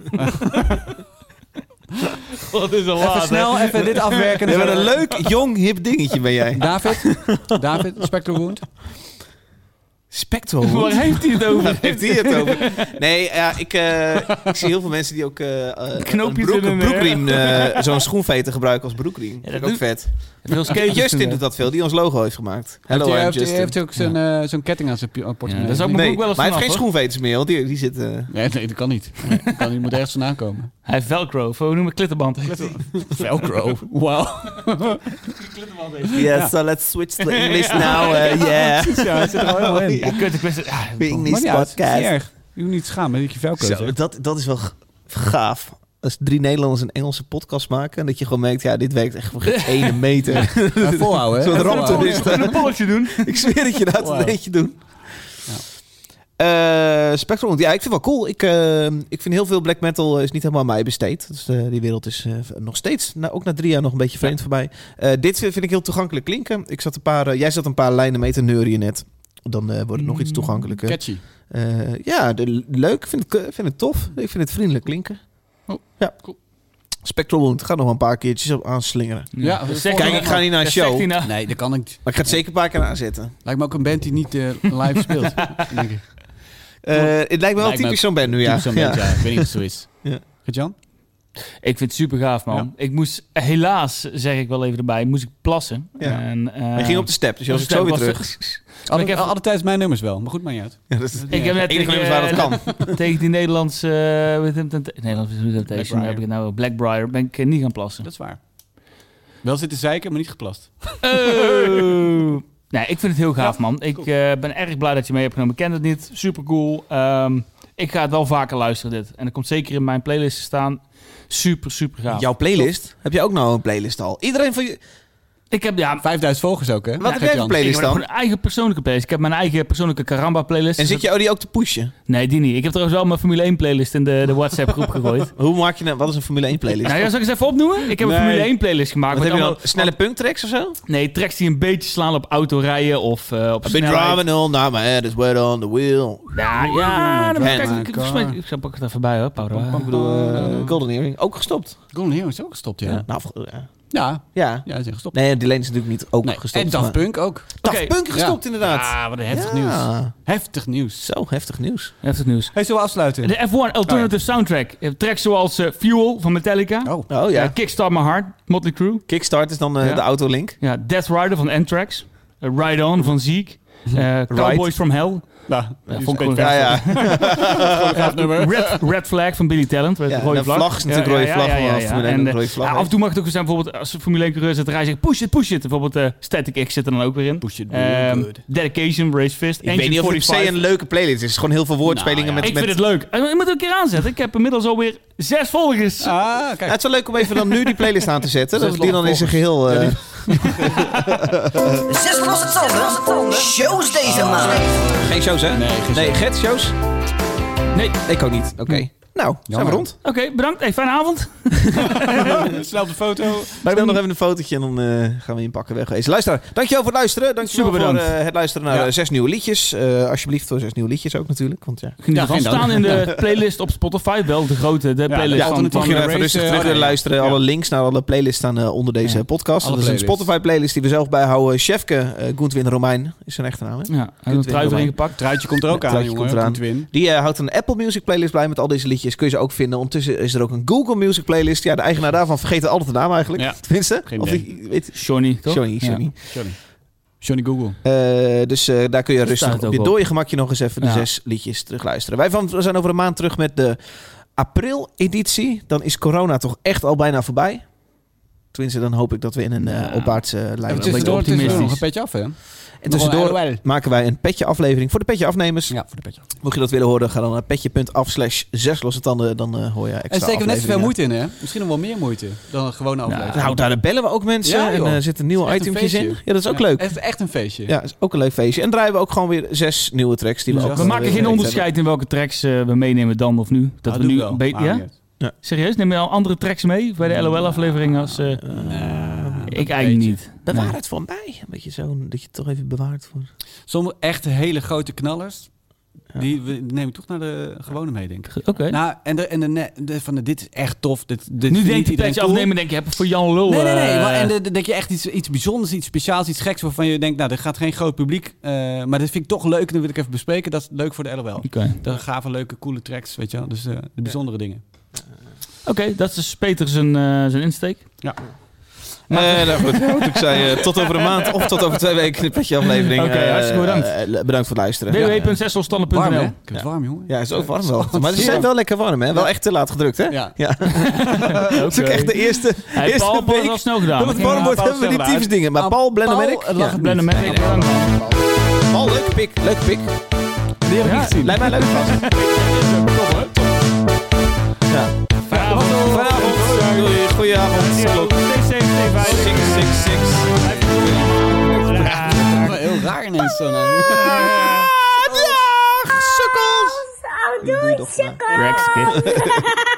D: Dat is al
B: Even
D: laat, hè?
B: snel even dit afwerken.
A: We hebben een leuk, jong, hip dingetje ben jij.
B: David, David, Spectral Wound.
A: Spectral.
D: Waar
A: hoor.
D: heeft hij het over?
A: Daar heeft hij het over. Nee, ja, ik, eh, ik zie heel veel mensen die ook eh, eh, een,
D: Knoopjes
A: broek-
D: in
A: een
D: hun,
A: broekriem, eh, zo'n schoenveten gebruiken als broekriem.
D: dat
A: dat vind ik ook
D: doet-
A: vet.
D: Veel
A: Kate
D: skaters
A: Justin
D: doen
A: doet dat veel, die ons logo heeft gemaakt. Hello,
B: hij
A: I'm
B: heeft, hij
A: Justin.
B: heeft ook zo'n eh, zo'n ketting aan zijn pi- portemonnee.
D: Ja, dat is ook
B: Nee.
D: mijn
A: Nee,
D: broek wel
A: maar
D: eens
A: hij heeft geen
D: vanaf, hoor.
A: schoenveters meer, want die, die eh, zitten...
B: Nee, nee, dat kan niet. Nee, dat kan niet. Je moet ergens vandaan komen.
D: Hij heeft velcro, of hoe noem ik klittenband?
B: Velcro. Wauw.
A: Yeah, so let's switch to English now. uh, yeah.
B: Oh, Ja, het zit er al helemaal in.
D: Ja, kut, ik wist het. Ah,
B: Maakt niet uit, het is niet erg. Je hoeft niet te schamen dat je velcro
A: Zo,
B: zegt.
A: dat, dat is wel g- gaaf. Als drie Nederlanders een Engelse podcast maken... en dat je gewoon merkt, ja, dit werkt echt voor geen ene meter.
B: Ja, volhouden, hè?
A: Zo'n
B: Even
A: ramp
B: volhouden.
A: is
D: ik moet een polletje doen.
A: Ik zweer dat je dat
B: Wauw.
A: een beetje doet. Eh, Spectrum, ja, ik vind het wel cool. Ik, eh, ik vind heel veel black metal eh, is niet helemaal aan mij besteed. Dus eh, die wereld is eh, nog steeds, nou, ook na drie jaar, nog een beetje vreemd voor mij. Eh, dit vind ik heel toegankelijk klinken. Ik zat een paar, eh, jij zat een paar lijnen mee te neurien net. Dan eh, wordt het nog iets toegankelijker.
B: Catchy.
A: Eh, ja, de, leuk. Ik vind het, ik vind het tof. Ik vind het vriendelijk klinken.
B: Oh,
A: ja.
B: cool.
A: Spectral Wound. Ga nog wel een paar keertjes op aanslingeren.
B: Ja,
D: dat
B: dat is
D: zegt
A: Kijk,
D: hij
A: ik
D: nou.
A: ga niet naar een
D: Dat zegt
A: show.
D: hij nou.
B: Nee, dat kan niet.
A: Maar ik ga het zeker een paar keer aanzetten.
B: Lijkt me ook een band die niet eh, live speelt. denk ik.
A: Eh, het lijkt me wel
B: Lijkt me
A: typisch zo'n band nu, ja.
B: Typisch zo'n
A: Ja.
B: band, ja. Ik weet niet of het zo is.
A: Ja.
B: Gert-Jan?
D: Ik vind het super gaaf, man.
B: Ja.
D: Ik moest, helaas, zeg ik wel even erbij, moest ik plassen.
A: Ja.
D: En, eh,
A: Hij ging op de step, dus je was ook
D: Onze
A: zo weer
D: stem was
A: terug.
D: Maar ik
B: Altijd,
D: heb-
B: altijd tijdens mijn nummers wel, maar goed, maakt niet uit.
A: Ja, dat is
D: Ik heb net
A: het enige
D: tegen, eh,
A: nummer waar dat kan.
D: tegen die Nederlandse... eh, hoe heet hem, Tempt- Nederlandse Temptation,
B: Blackbriar.
D: heb ik het nou? Blackbriar, ben ik eh, niet gaan plassen.
B: Dat is waar. Wel zitten zeiken, maar niet geplast.
D: Oh. Nee, ik vind het heel gaaf, man. Ik eh, ben erg blij dat je mee hebt genomen. Ik ken het niet. Super cool. ik ga het wel vaker luisteren, dit. En dat komt zeker in mijn playlist te staan. Super, super gaaf.
A: Jouw playlist? Heb jij ook nou een playlist al? Iedereen van je...
D: Ik heb, ja,
B: 5000 volgers ook, hè?
A: Wat heb jij voor
B: Gert-Jan?
D: ik
A: playlist
D: heb gewoon
A: dan?
D: een eigen persoonlijke playlist. Ik heb mijn eigen persoonlijke Karamba-playlist.
A: En
D: Dus
A: zit je oh, die ook te pushen?
D: dat- Nee, die niet. Ik heb trouwens wel mijn Formule 1-playlist in de, de WhatsApp-groep gegooid.
A: Hoe maak je nou... Wat is een Formule 1 playlist?
D: nou ja, zal ik eens even opnoemen? Ik heb
A: Nee.
D: een Formule 1-playlist gemaakt.
A: wat
D: met
A: heb je dan?
D: allemaal-
A: Snelle punktracks of zo?
D: Nee, tracks die een beetje slaan op autorijden of eh, op
A: I've been
D: snelheid.
A: driving all night, my head is wet on the wheel.
D: Ja, ja. Dan
A: Oh
D: kijk,
B: my
D: ik,
B: God.
D: volgens mij- ik zal pak het even bij, hoor. Paula.
A: Ik bedoel, eh, Golden Earring. Ook gestopt.
B: Golden Hero is ook gestopt, ja.
A: Ja.
B: Ja,
A: Nou, of- ja.
B: ja,
A: ja.
B: is echt gestopt.
A: Nee, die Lane is natuurlijk niet ook
B: Nee,
A: gestopt.
B: en Daft
A: maar-
B: Punk ook.
A: Daft
D: Oké.
A: Punk gestopt,
B: Ja.
A: inderdaad.
D: Ah, wat een heftig
A: Ja.
D: nieuws.
B: Heftig nieuws.
A: Zo, heftig nieuws.
D: Heftig nieuws.
B: Hey, zullen we afsluiten?
D: De F1 Alternative Soundtrack. Je hebt Tracks zoals eh, Fuel van Metallica.
B: Oh.
A: Oh ja.
D: Eh, Kickstart My Heart, Motley Crue.
A: Kickstart is dan eh,
D: Ja.
A: de autolink.
D: Ja, Death Rider van Anthrax. Eh, Ride On van Zeke. Eh, Cowboys from Hell.
B: Nou,
D: Ja,
B: vond ik
D: gewoon-
A: Ja, ja.
B: gaaf nummer.
D: Red, Red Flag van Billy Talent. Weet je,
A: Ja,
D: rode
A: de vlag is natuurlijk rode vlag, maar Formule 1
D: En,
A: ook
D: eh,
A: rode vlag
D: ja,
A: heeft.
D: af en toe mag het ook zijn, bijvoorbeeld als een Formule 1 coureur zit, rij zegt push it, push it. Bijvoorbeeld eh, Static X zit er dan ook weer in.
B: Push it real
D: Ehm,
B: good.
D: Dedication, Race Fist,
A: Ik weet niet of het per se een leuke playlist is. Het is gewoon heel veel woordspelingen
B: Nou, ja.
A: met...
D: Ik
A: met...
D: vind het leuk. Eh, Ik moet het een keer aanzetten. Ik heb inmiddels alweer zes volgers.
B: Ah,
A: Ja,
B: kijk.
A: het is wel leuk om even dan nu die playlist aan te zetten.
B: Zes
A: Dat we die dan in zijn geheel... eh,
C: Zes losse tanden. Shows deze maand.
A: Geen shows, hè?
B: Nee, geen
A: nee Gert, shows?
D: Nee.
A: Ik ook niet. Oké. Nou, zijn we
B: Jammer.
A: rond.
D: Oké, bedankt. Hey, fijne avond.
B: Snel op de foto.
A: Wij doen nog even een fotootje en dan eh, gaan we inpakken wegwezen. Luisteraar, dankjewel voor het luisteren. Dankjewel
D: Super
A: voor
D: bedankt.
A: eh, het luisteren naar
B: Ja.
A: eh, zes nieuwe liedjes. Eh, alsjeblieft voor zes nieuwe liedjes ook natuurlijk. Want ja,
D: Geniet
B: Ja,
D: ervan.
B: geen
D: staan in de playlist op Spotify. Wel de grote, de playlist
A: ja,
D: van...
B: alternatief.
A: mocht je
B: van
A: nog even
B: de race,
A: rustig
B: eh,
A: terug willen
B: ja.
A: luisteren. Alle links naar alle playlists staan eh, onder deze
B: Ja.
A: podcast.
B: Alle
A: Dat is een
B: playlists.
A: Spotify-playlist die we zelf bijhouden. Chefke, eh Goentwin Romein is zijn echte naam, hè?
D: Ja, en een trui erin gepakt.
B: Truitje komt er ook aan,
A: Truitje
B: jongen.
A: komt eraan.
B: Goed win.
A: Die eh, houdt een Apple Music playlist bij met al deze liedjes. liedjes kun je ze ook vinden. Ondertussen is er ook een Google Music playlist. Ja, de eigenaar daarvan vergeet altijd de naam eigenlijk.
D: Ja.
A: Tenminste.
H: Geen
A: of
H: idee.
A: ik weet,
D: Johnny, toch?
A: Johnny,
D: Ja.
A: Johnny.
H: Sorry.
B: Johnny Google.
A: Eh, dus eh, daar kun je rustig
D: staat
A: op
D: ook
A: je
D: op.
A: dode gemakje nog eens even de
D: Ja.
A: zes liedjes terugluisteren. Wij van, we zijn over een maand terug met de april-editie. Dan is corona toch echt al bijna voorbij. Tenminste, dan hoop ik dat we in een eh,
D: Ja.
A: opwaartse lijn
B: En
A: lijn
D: beetje
B: tussendoor, tussendoor nog
D: optimistisch.
B: een petje af, hè? Nog
A: En
B: een
A: tussendoor
B: LOL.
A: maken wij een petje aflevering voor de petje afnemers.
B: Ja, voor de petje af.
A: Mocht je dat willen horen, ga dan naar petje.af slash zes losse tanden. Dan eh, hoor je extra
B: En steken we net zoveel
A: afleveringen.
B: moeite in, hè? Misschien nog wel meer moeite dan een gewone aflevering.
A: Nou, daar bellen we ook mensen.
B: Ja,
A: en eh,
B: joh.
A: er zitten nieuwe
B: Het is echt een
A: itempjes in.
B: feestje.
A: Ja, dat is ook
B: Ja,
A: leuk.
B: Het is echt een feestje.
A: Ja, is ook een leuk feestje. En draaien we ook gewoon weer zes nieuwe tracks. Die we,
B: Ja.
A: ook
D: We
A: eh,
D: maken
A: weer
D: geen
A: hebben.
D: onderscheid in welke tracks eh, we meenemen dan of nu. Dat
B: Nou,
D: we
B: doe
D: nu
B: ik wel.
A: Ah,
D: be-
B: Maar
D: ja?
B: niet uit.
D: Serieus? Neem je al andere tracks mee bij de LOL-aflevering als... eh, ik eigenlijk
B: beetje.
D: niet.
A: Bewaar
D: Nee.
A: het voor mij. Een beetje zo dat je het toch even bewaart voor.
B: Sommige echt hele grote knallers,
A: Ja.
B: die we- neem ik toch naar de gewone mee, denk ik.
D: Oké.
B: Nou, en, de, en de, ne- de- van de, dit is echt tof. Dit, dit
D: nu
B: vindt
D: denkt het
B: iedereen
D: petje
B: cool.
D: afnemen, denk je, heb ik voor Jan Lul.
B: Nee, nee, nee.
D: eh,
B: maar en de- de- dat je echt iets, iets bijzonders, iets speciaals, iets geks... waarvan je denkt, nou, dit gaat geen groot publiek. eh, maar dat vind ik toch leuk en dat wil ik even bespreken. Dat is leuk voor de LOL.
D: Oké,
B: De gave, leuke, coole tracks, weet je wel. Dus eh, de bijzondere dingen.
D: Oké, dat is dus Peter zijn, eh, zijn insteek.
A: Eh, nou goed, wat ik zei, eh, tot over een maand of tot over twee weken in de petje aflevering.
D: Oké,
A: Eh,
D: hartstikke bedankt.
A: eh, bedankt voor het luisteren. Ja.
B: Warm, hè?
D: www.zesselstanden.nl
B: Ik heb het warm, jongen.
A: Ja, het is ook warm wel.
B: Zo,
A: Maar ze
B: zo.
A: zijn wel lekker warm, hè? Wel echt te laat gedrukt, hè?
B: Ja.
A: Dat is ook
D: Eh, Oké.
A: echt de eerste,
D: Hij heeft
A: eerste
D: Paul
A: week
D: pas al snel gedaan.
A: dat het warm wordt, hebben we die typische dingen. Maar
B: Aan
A: Paul, Blennemerk...
B: Paul lag
A: Ja.
B: het
D: Blender
B: niet.
D: Mac, bedankt.
A: Paul, leuk pik, leuk pik.
B: Die heb ik
D: Ja,
B: niet gezien.
A: Lijkt mij leuk vast. Ja.
D: Fijne avond.
A: Vanavond,
D: eh,
A: doei, goeie avond. Klok
D: Stay safe, stay veilig.
A: 666.
B: Wel Heel raar ineens zo. nou.
A: Dag, sukkels!
F: Oh, doe
A: Doei, dochter.
D: Rex, kid.